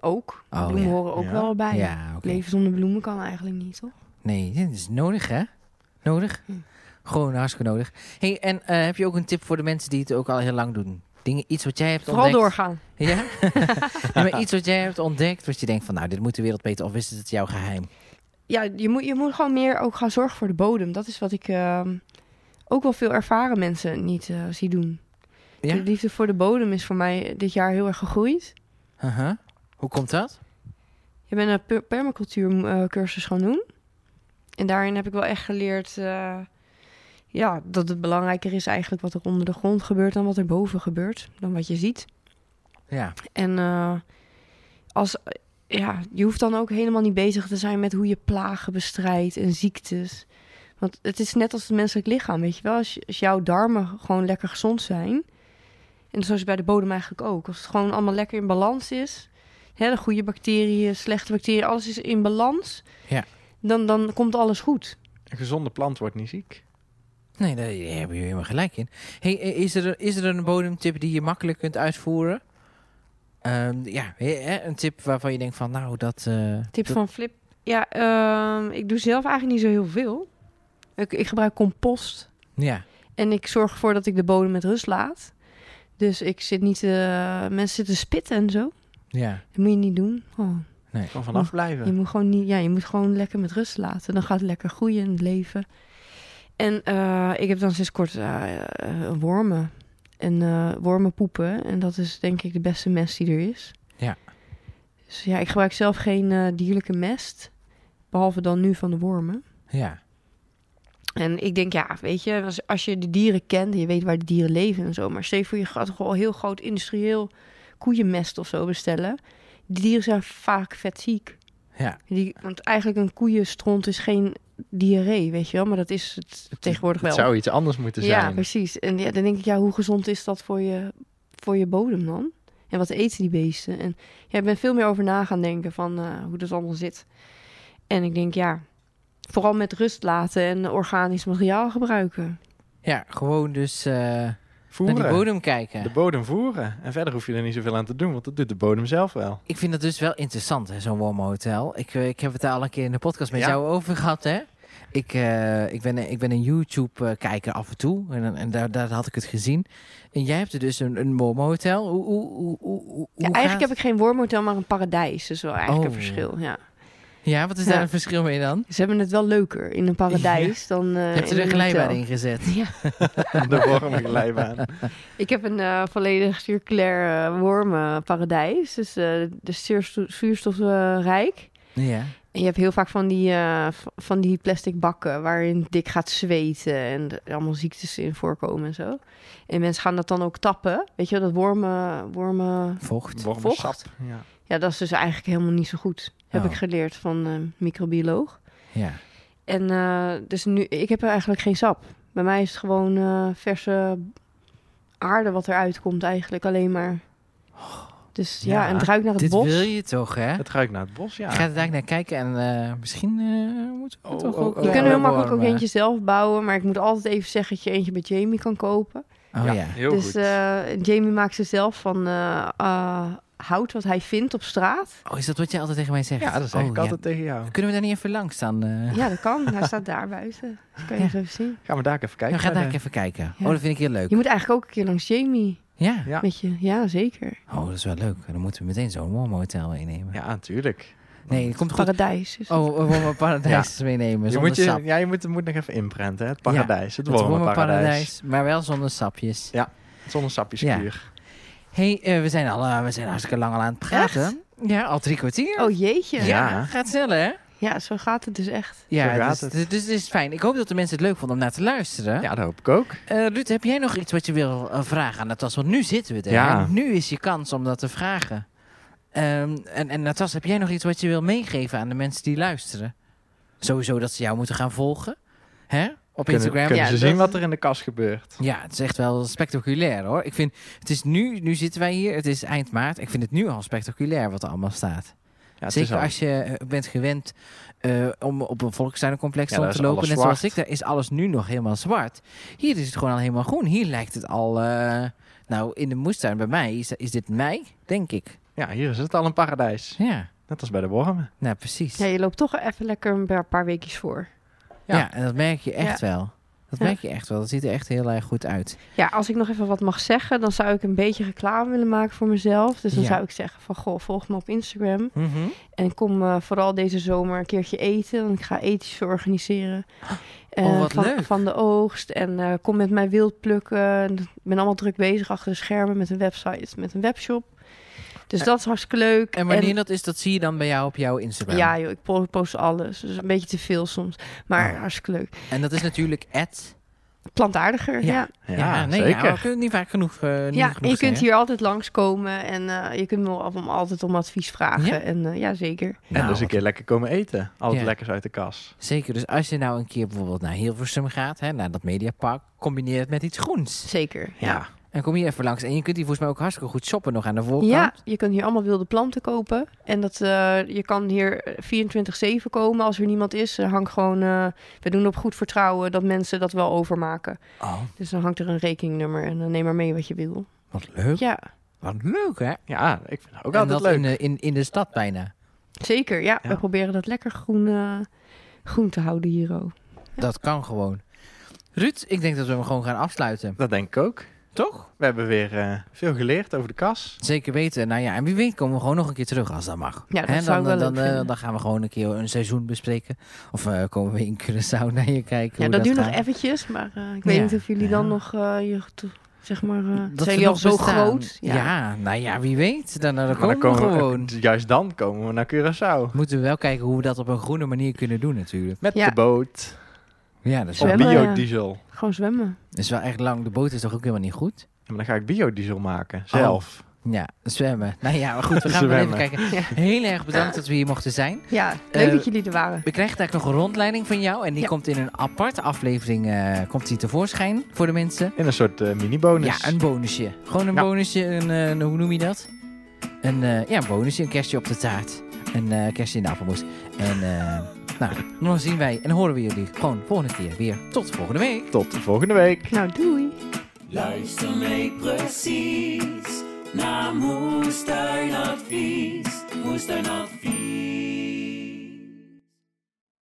Speaker 4: ook.
Speaker 2: Oh,
Speaker 4: bloemen
Speaker 2: ja.
Speaker 4: horen ook
Speaker 3: Ja.
Speaker 4: wel bij.
Speaker 2: Ah, Ja, oké.
Speaker 4: Leven zonder bloemen kan eigenlijk niet, toch?
Speaker 2: Nee, dit is nodig, hè? Nodig.
Speaker 4: Hm.
Speaker 2: Gewoon hartstikke nodig. hey, en eh, heb je ook een tip voor de mensen die het ook al heel lang doen? Dingen, iets wat jij hebt
Speaker 4: Vooral
Speaker 2: ontdekt.
Speaker 4: doorgaan.
Speaker 2: Ja? Nee, maar iets wat jij hebt ontdekt, wat je denkt van, nou, dit moet de wereld weten, of is het jouw geheim?
Speaker 4: ja, je moet, je moet gewoon meer ook gaan zorgen voor de bodem. Dat is wat ik ehm, ook wel veel ervaren mensen niet eh, zie doen.
Speaker 2: Ja?
Speaker 4: De liefde voor de bodem is voor mij dit jaar heel erg gegroeid.
Speaker 2: Aha. Hoe komt dat?
Speaker 4: Je bent een per- permacultuur eh, cursus gaan doen. En daarin heb ik wel echt geleerd eh, ja, dat het belangrijker is eigenlijk wat er onder de grond gebeurt dan wat er boven gebeurt, dan wat je ziet.
Speaker 2: Ja.
Speaker 4: En eh, als, ja, je hoeft dan ook helemaal niet bezig te zijn met hoe je plagen bestrijdt en ziektes. Want het is net als het menselijk lichaam, weet je wel. Als, als jouw darmen gewoon lekker gezond zijn. En zo is het bij de bodem eigenlijk ook. Als het gewoon allemaal lekker in balans is. Hè, de goede bacteriën, slechte bacteriën, alles is in balans.
Speaker 2: Ja.
Speaker 4: Dan, dan komt alles goed.
Speaker 3: Een gezonde plant wordt niet ziek.
Speaker 2: Nee, daar hebben jullie helemaal gelijk in. hey, eh, is er, is er een bodemtip die je makkelijk kunt uitvoeren? Ehm, ja, hè, hè, een tip waarvan je denkt van, nou, dat... eh,
Speaker 4: Tip
Speaker 2: dat-
Speaker 4: van Flip. Ja, ehm, ik doe zelf eigenlijk niet zo heel veel. Ik, ik gebruik compost.
Speaker 2: Ja.
Speaker 4: En ik zorg ervoor dat ik de bodem met rust laat. Dus ik zit niet... eh, mensen zitten spitten en zo.
Speaker 2: Ja.
Speaker 4: Dat moet je niet doen. Oh,
Speaker 2: Nee.
Speaker 3: Kan vanaf
Speaker 4: je,
Speaker 3: blijven.
Speaker 4: moet gewoon niet, ja, je moet gewoon lekker met rust laten. Dan gaat het lekker groeien in het leven. En eh, ik heb dan sinds kort eh, eh, wormen. En eh, wormen poepen. En dat is denk ik de beste mest die er is.
Speaker 2: Ja.
Speaker 4: Dus ja, ik gebruik zelf geen eh, dierlijke mest. Behalve dan nu van de wormen.
Speaker 2: Ja.
Speaker 4: En ik denk, ja, weet je, als, als je de dieren kent en je weet waar de dieren leven en zo. Maar stel je voor je gaat gewoon heel groot industrieel koeienmest of zo bestellen. Die dieren zijn vaak vetziek.
Speaker 2: Ja.
Speaker 4: Die, want eigenlijk een koeienstront is geen diarree, weet je wel. Maar dat is het tegenwoordig
Speaker 3: Het
Speaker 4: wel.
Speaker 3: zou iets anders moeten zijn.
Speaker 4: Ja, precies. En ja, dan denk ik, ja, hoe gezond is dat voor je, voor je bodem dan? En wat eten die beesten? En ja, ik ben veel meer over na gaan denken van eh, hoe dat allemaal zit. En ik denk, ja, vooral met rust laten en organisch materiaal gebruiken.
Speaker 2: Ja, gewoon dus eh, naar
Speaker 3: Voeren.
Speaker 2: die bodem kijken.
Speaker 3: De bodem voeren. En verder hoef je er niet zoveel aan te doen, want dat doet de bodem zelf wel.
Speaker 2: Ik vind dat dus wel interessant, hè, zo'n warm hotel. Ik, eh, ik heb het daar al een keer in de podcast met
Speaker 3: Ja.
Speaker 2: jou over gehad, hè? Ik, eh, ik, ben, een- ik ben een YouTube-kijker af en toe. En, en daar, daar had ik het gezien. En jij hebt er dus een, een warm hotel. Hoe, hoe, hoe, hoe, hoe
Speaker 4: Ja, eigenlijk heb ik geen wormhotel, maar een paradijs. Dus wel eigenlijk
Speaker 2: Oh.
Speaker 4: een verschil, ja.
Speaker 2: ik... Ja, wat is
Speaker 4: Ja.
Speaker 2: daar een verschil mee dan?
Speaker 4: Ze hebben het wel leuker in een paradijs dan eh,
Speaker 2: Je hebt
Speaker 4: in
Speaker 2: er een glijbaan
Speaker 4: hotel.
Speaker 2: in gezet.
Speaker 3: De worm glijbaan.
Speaker 4: Ik heb een eh, volledig circulair eh, wormenparadijs. Dus eh, de zuurstof, zuurstofrijk.
Speaker 2: Ja.
Speaker 4: En je hebt heel vaak van die, eh, v- van die plastic bakken waarin het dik gaat zweten en er allemaal ziektes in voorkomen en zo. En mensen gaan dat dan ook tappen. Weet je, wel, dat wormen, wormen.
Speaker 2: Vocht.
Speaker 3: Wormensap. Ja.
Speaker 4: Ja, dat is dus eigenlijk helemaal niet zo goed. Heb
Speaker 2: Oh.
Speaker 4: ik geleerd van een microbioloog.
Speaker 2: Ja.
Speaker 4: En eh, dus nu, ik heb er eigenlijk geen sap. Bij mij is het gewoon eh, verse aarde wat eruit komt eigenlijk alleen maar. Dus ja,
Speaker 3: Ja,
Speaker 4: en het ruikt naar het
Speaker 2: Dit
Speaker 4: bos.
Speaker 2: wil je toch, hè?
Speaker 3: Het ruikt naar het bos, ja.
Speaker 2: Ik ga er daar naar kijken en eh, misschien eh, moeten we
Speaker 3: Oh,
Speaker 2: toch
Speaker 3: oh,
Speaker 2: ook...
Speaker 3: oh.
Speaker 4: Je
Speaker 2: eh,
Speaker 4: kunt er heel makkelijk ook
Speaker 2: warmen.
Speaker 4: eentje zelf bouwen, maar ik moet altijd even zeggen dat je eentje bij Jamie kan kopen.
Speaker 2: Oh ja.
Speaker 3: Ja, heel
Speaker 4: dus
Speaker 3: goed.
Speaker 4: eh, Jamie maakt ze zelf van eh, eh, hout wat hij vindt op straat.
Speaker 2: Oh, is dat wat jij altijd tegen mij zegt?
Speaker 3: ja, dat zeg
Speaker 2: Oh,
Speaker 3: ik
Speaker 2: ja.
Speaker 3: altijd tegen jou.
Speaker 2: Kunnen we daar niet even langs staan? eh?
Speaker 4: Ja, dat kan. hij staat daar buiten. Dat kan je
Speaker 2: Ja.
Speaker 4: zo zien.
Speaker 3: Gaan we daar even
Speaker 2: Ja,
Speaker 3: kijken.
Speaker 2: ga daar
Speaker 3: naar de-
Speaker 2: even kijken.
Speaker 4: Ja.
Speaker 2: Oh, dat vind ik heel leuk.
Speaker 4: Je moet eigenlijk ook een keer langs Jamie.
Speaker 2: Ja.
Speaker 3: Ja.
Speaker 4: Met je. Ja, zeker.
Speaker 2: Oh, dat is wel leuk. Dan moeten we meteen zo'n warm hotel meenemen.
Speaker 3: Ja, natuurlijk.
Speaker 2: Nee, dat komt goed.
Speaker 4: Paradijs. Dus
Speaker 2: Oh, we warme paradijs meenemen.
Speaker 3: Je
Speaker 2: Zonder
Speaker 3: moet, je,
Speaker 2: sap.
Speaker 3: ja, je moet, moet nog even inprenten. hè. Het paradijs, het
Speaker 2: Het warme
Speaker 3: warme paradijs.
Speaker 2: paradijs, maar wel zonder sapjes.
Speaker 3: Het zonnesapjeskuur.
Speaker 2: hey, eh, we, zijn al, eh, we zijn hartstikke lang al aan het praten. Ja, al drie kwartier.
Speaker 4: Oh jeetje. Ja.
Speaker 3: Ja.
Speaker 2: Gaat snel, hè?
Speaker 4: zo gaat het dus echt.
Speaker 2: Ja,
Speaker 3: Zo
Speaker 2: dus,
Speaker 3: gaat het.
Speaker 2: dus, dus het is fijn. Ik hoop dat de mensen het leuk vonden om naar te luisteren.
Speaker 3: Ja, dat hoop ik ook.
Speaker 2: Eh, Ruud, heb jij nog iets wat je wil eh, vragen aan Natas? Want nu zitten we er.
Speaker 3: Ja.
Speaker 2: hè? Nu is je kans om dat te vragen. Ehm, en, en Natas, heb jij nog iets wat je wil meegeven aan de mensen die luisteren? Sowieso dat ze jou moeten gaan volgen. Hè? Op
Speaker 3: Kunnen,
Speaker 2: Instagram.
Speaker 3: kunnen
Speaker 4: Ja,
Speaker 3: ze
Speaker 4: dat-
Speaker 3: zien wat er in de kast gebeurt.
Speaker 2: Ja, het is echt wel spectaculair hoor. Ik vind, het is nu, nu zitten wij hier, het is eind maart. Ik vind het nu al spectaculair wat er allemaal staat.
Speaker 3: Ja, het is
Speaker 2: Zeker
Speaker 3: al-
Speaker 2: als je eh, bent gewend eh, om op een volkstuinencomplex
Speaker 3: Ja,
Speaker 2: rond
Speaker 3: daar
Speaker 2: te
Speaker 3: is
Speaker 2: lopen.
Speaker 3: alles
Speaker 2: Net zoals
Speaker 3: zwart.
Speaker 2: ik, daar is alles nu nog helemaal zwart. Hier is het gewoon al helemaal groen. Hier lijkt het al, eh, nou in de moestuin bij mij, is, is dit mei, denk ik.
Speaker 3: Ja, hier is het al een paradijs.
Speaker 2: Ja,
Speaker 3: Net als bij de wormen.
Speaker 2: nou precies.
Speaker 4: Ja,
Speaker 2: Ja,
Speaker 4: je loopt toch even lekker een paar- paar weekjes voor.
Speaker 3: ja.
Speaker 2: en dat merk je echt wel. Dat
Speaker 4: Ja.
Speaker 2: merk je echt wel. Dat ziet er echt heel erg goed uit.
Speaker 4: Ja, als ik nog even wat mag zeggen, dan zou ik een beetje reclame willen maken voor mezelf. Dus dan
Speaker 2: Ja.
Speaker 4: zou ik zeggen van, goh, volg me op Instagram.
Speaker 3: Mhm.
Speaker 4: En kom eh, vooral deze zomer een keertje eten, want ik ga ethisch organiseren. Eh,
Speaker 2: Oh, wat
Speaker 4: van,
Speaker 2: leuk.
Speaker 4: Van de oogst en eh, kom met mij wild plukken. En Ik ben allemaal druk bezig achter de schermen met een website, met een webshop. Dus dat is hartstikke leuk.
Speaker 2: En wanneer dat is, dat zie je dan bij jou op jouw Instagram.
Speaker 4: Ja, joh, ik po- post alles. Dus een beetje te veel soms. Maar
Speaker 2: Oh.
Speaker 4: hartstikke leuk.
Speaker 2: En dat is natuurlijk at...
Speaker 4: Plantaardiger,
Speaker 2: Ja.
Speaker 4: ja.
Speaker 3: Ja,
Speaker 2: Ja, nee,
Speaker 3: zeker.
Speaker 2: ja, we kunnen niet vaak genoeg. eh niet genoeg
Speaker 4: Ja, en je
Speaker 2: zeggen.
Speaker 4: kunt hier altijd langskomen. En eh, je kunt me al- om, altijd om advies vragen.
Speaker 2: Ja?
Speaker 4: En eh, ja, zeker.
Speaker 3: En
Speaker 2: Nou,
Speaker 3: dus een
Speaker 2: wat-
Speaker 3: keer lekker komen eten. Al het
Speaker 2: Ja.
Speaker 3: lekkers uit de kas.
Speaker 2: Zeker, dus als je nou een keer bijvoorbeeld naar Hilversum gaat, hè, naar dat Mediapark, combineer het met iets groens.
Speaker 4: Zeker.
Speaker 3: Ja.
Speaker 4: Ja.
Speaker 2: En kom hier even langs. En je kunt hier volgens mij ook hartstikke goed shoppen nog aan de voorkant.
Speaker 4: Ja, je kunt hier allemaal wilde planten kopen. En dat, eh, je kan hier 24-7 komen als er niemand is. Er hangt gewoon, eh, we doen op goed vertrouwen dat mensen dat wel overmaken.
Speaker 2: Oh,
Speaker 4: Dus dan hangt er een rekeningnummer en dan neem maar mee wat je wil.
Speaker 2: wat leuk.
Speaker 4: Ja,
Speaker 2: Wat leuk, hè?
Speaker 3: Ja, ik vind het ook
Speaker 2: en
Speaker 3: altijd
Speaker 2: dat In,
Speaker 3: leuk.
Speaker 2: de- in, in de stad bijna.
Speaker 4: zeker. Ja,
Speaker 3: Ja.
Speaker 4: we proberen dat lekker groen, eh, groen te houden hier ook.
Speaker 2: Dat kan gewoon. Ruud, ik denk dat we hem gewoon gaan afsluiten.
Speaker 3: Dat denk ik ook.
Speaker 2: Toch?
Speaker 3: We hebben weer eh, veel geleerd over de kas.
Speaker 2: Zeker weten. Nou ja, en wie weet komen we gewoon nog een keer terug als dat mag.
Speaker 4: Ja, dat
Speaker 2: Hè,
Speaker 4: zou ik
Speaker 2: dan,
Speaker 4: wel
Speaker 2: dan,
Speaker 4: leuk
Speaker 2: eh,
Speaker 4: vinden.
Speaker 2: dan gaan we gewoon een keer een seizoen bespreken. Of eh, komen we in Curaçao naar je kijken.
Speaker 4: Ja,
Speaker 2: hoe
Speaker 4: dat, duurt nog
Speaker 2: gaat.
Speaker 4: eventjes, maar eh, ik
Speaker 2: Ja.
Speaker 4: weet niet of jullie dan
Speaker 3: Ja.
Speaker 4: nog, eh, je, to- zeg maar, eh,
Speaker 2: Dat
Speaker 4: zijn
Speaker 2: we
Speaker 4: jullie al
Speaker 2: nog
Speaker 4: zo
Speaker 2: bestaan.
Speaker 4: groot?
Speaker 2: Ja. nou ja, wie weet. Dan, dan,
Speaker 3: Maar
Speaker 2: komen we gewoon.
Speaker 3: Juist dan komen we naar Curaçao.
Speaker 2: Moeten we wel kijken hoe we dat op een groene manier kunnen doen natuurlijk.
Speaker 3: Met
Speaker 4: Ja.
Speaker 3: de boot.
Speaker 2: Ja, dat is,
Speaker 3: Op
Speaker 2: wel,
Speaker 4: Zwemmen, ja.
Speaker 3: biodiesel.
Speaker 4: Gewoon zwemmen.
Speaker 2: dat is wel echt lang. De boot is toch ook helemaal niet goed?
Speaker 3: Ja, maar dan ga ik biodiesel
Speaker 2: Oh.
Speaker 3: maken. Zelf.
Speaker 2: Ja, zwemmen. Nou ja, maar goed, we gaan wel even
Speaker 3: Zwemmen.
Speaker 2: kijken.
Speaker 4: Ja.
Speaker 2: Heel erg bedankt dat we hier mochten zijn.
Speaker 4: Ja, leuk
Speaker 2: Eh,
Speaker 4: dat jullie er waren.
Speaker 2: We krijgen daar nog een rondleiding van jou. En die
Speaker 4: Ja.
Speaker 2: komt in een aparte aflevering eh, komt die tevoorschijn voor de mensen.
Speaker 3: In een soort eh, mini-bonus.
Speaker 2: Ja, een bonusje. Gewoon een
Speaker 3: Ja.
Speaker 2: bonusje. Een, eh, een- hoe noem je dat? Een, eh, ja, een bonusje. Een kerstje op de taart. Een eh kerstje in de appelmoes. En eh, nou, dan zien wij en horen we jullie gewoon volgende keer weer. Tot volgende week.
Speaker 3: Tot de volgende week.
Speaker 4: Nou, doei.
Speaker 1: Luister mee precies naar Moestuinadvies. Moestuinadvies.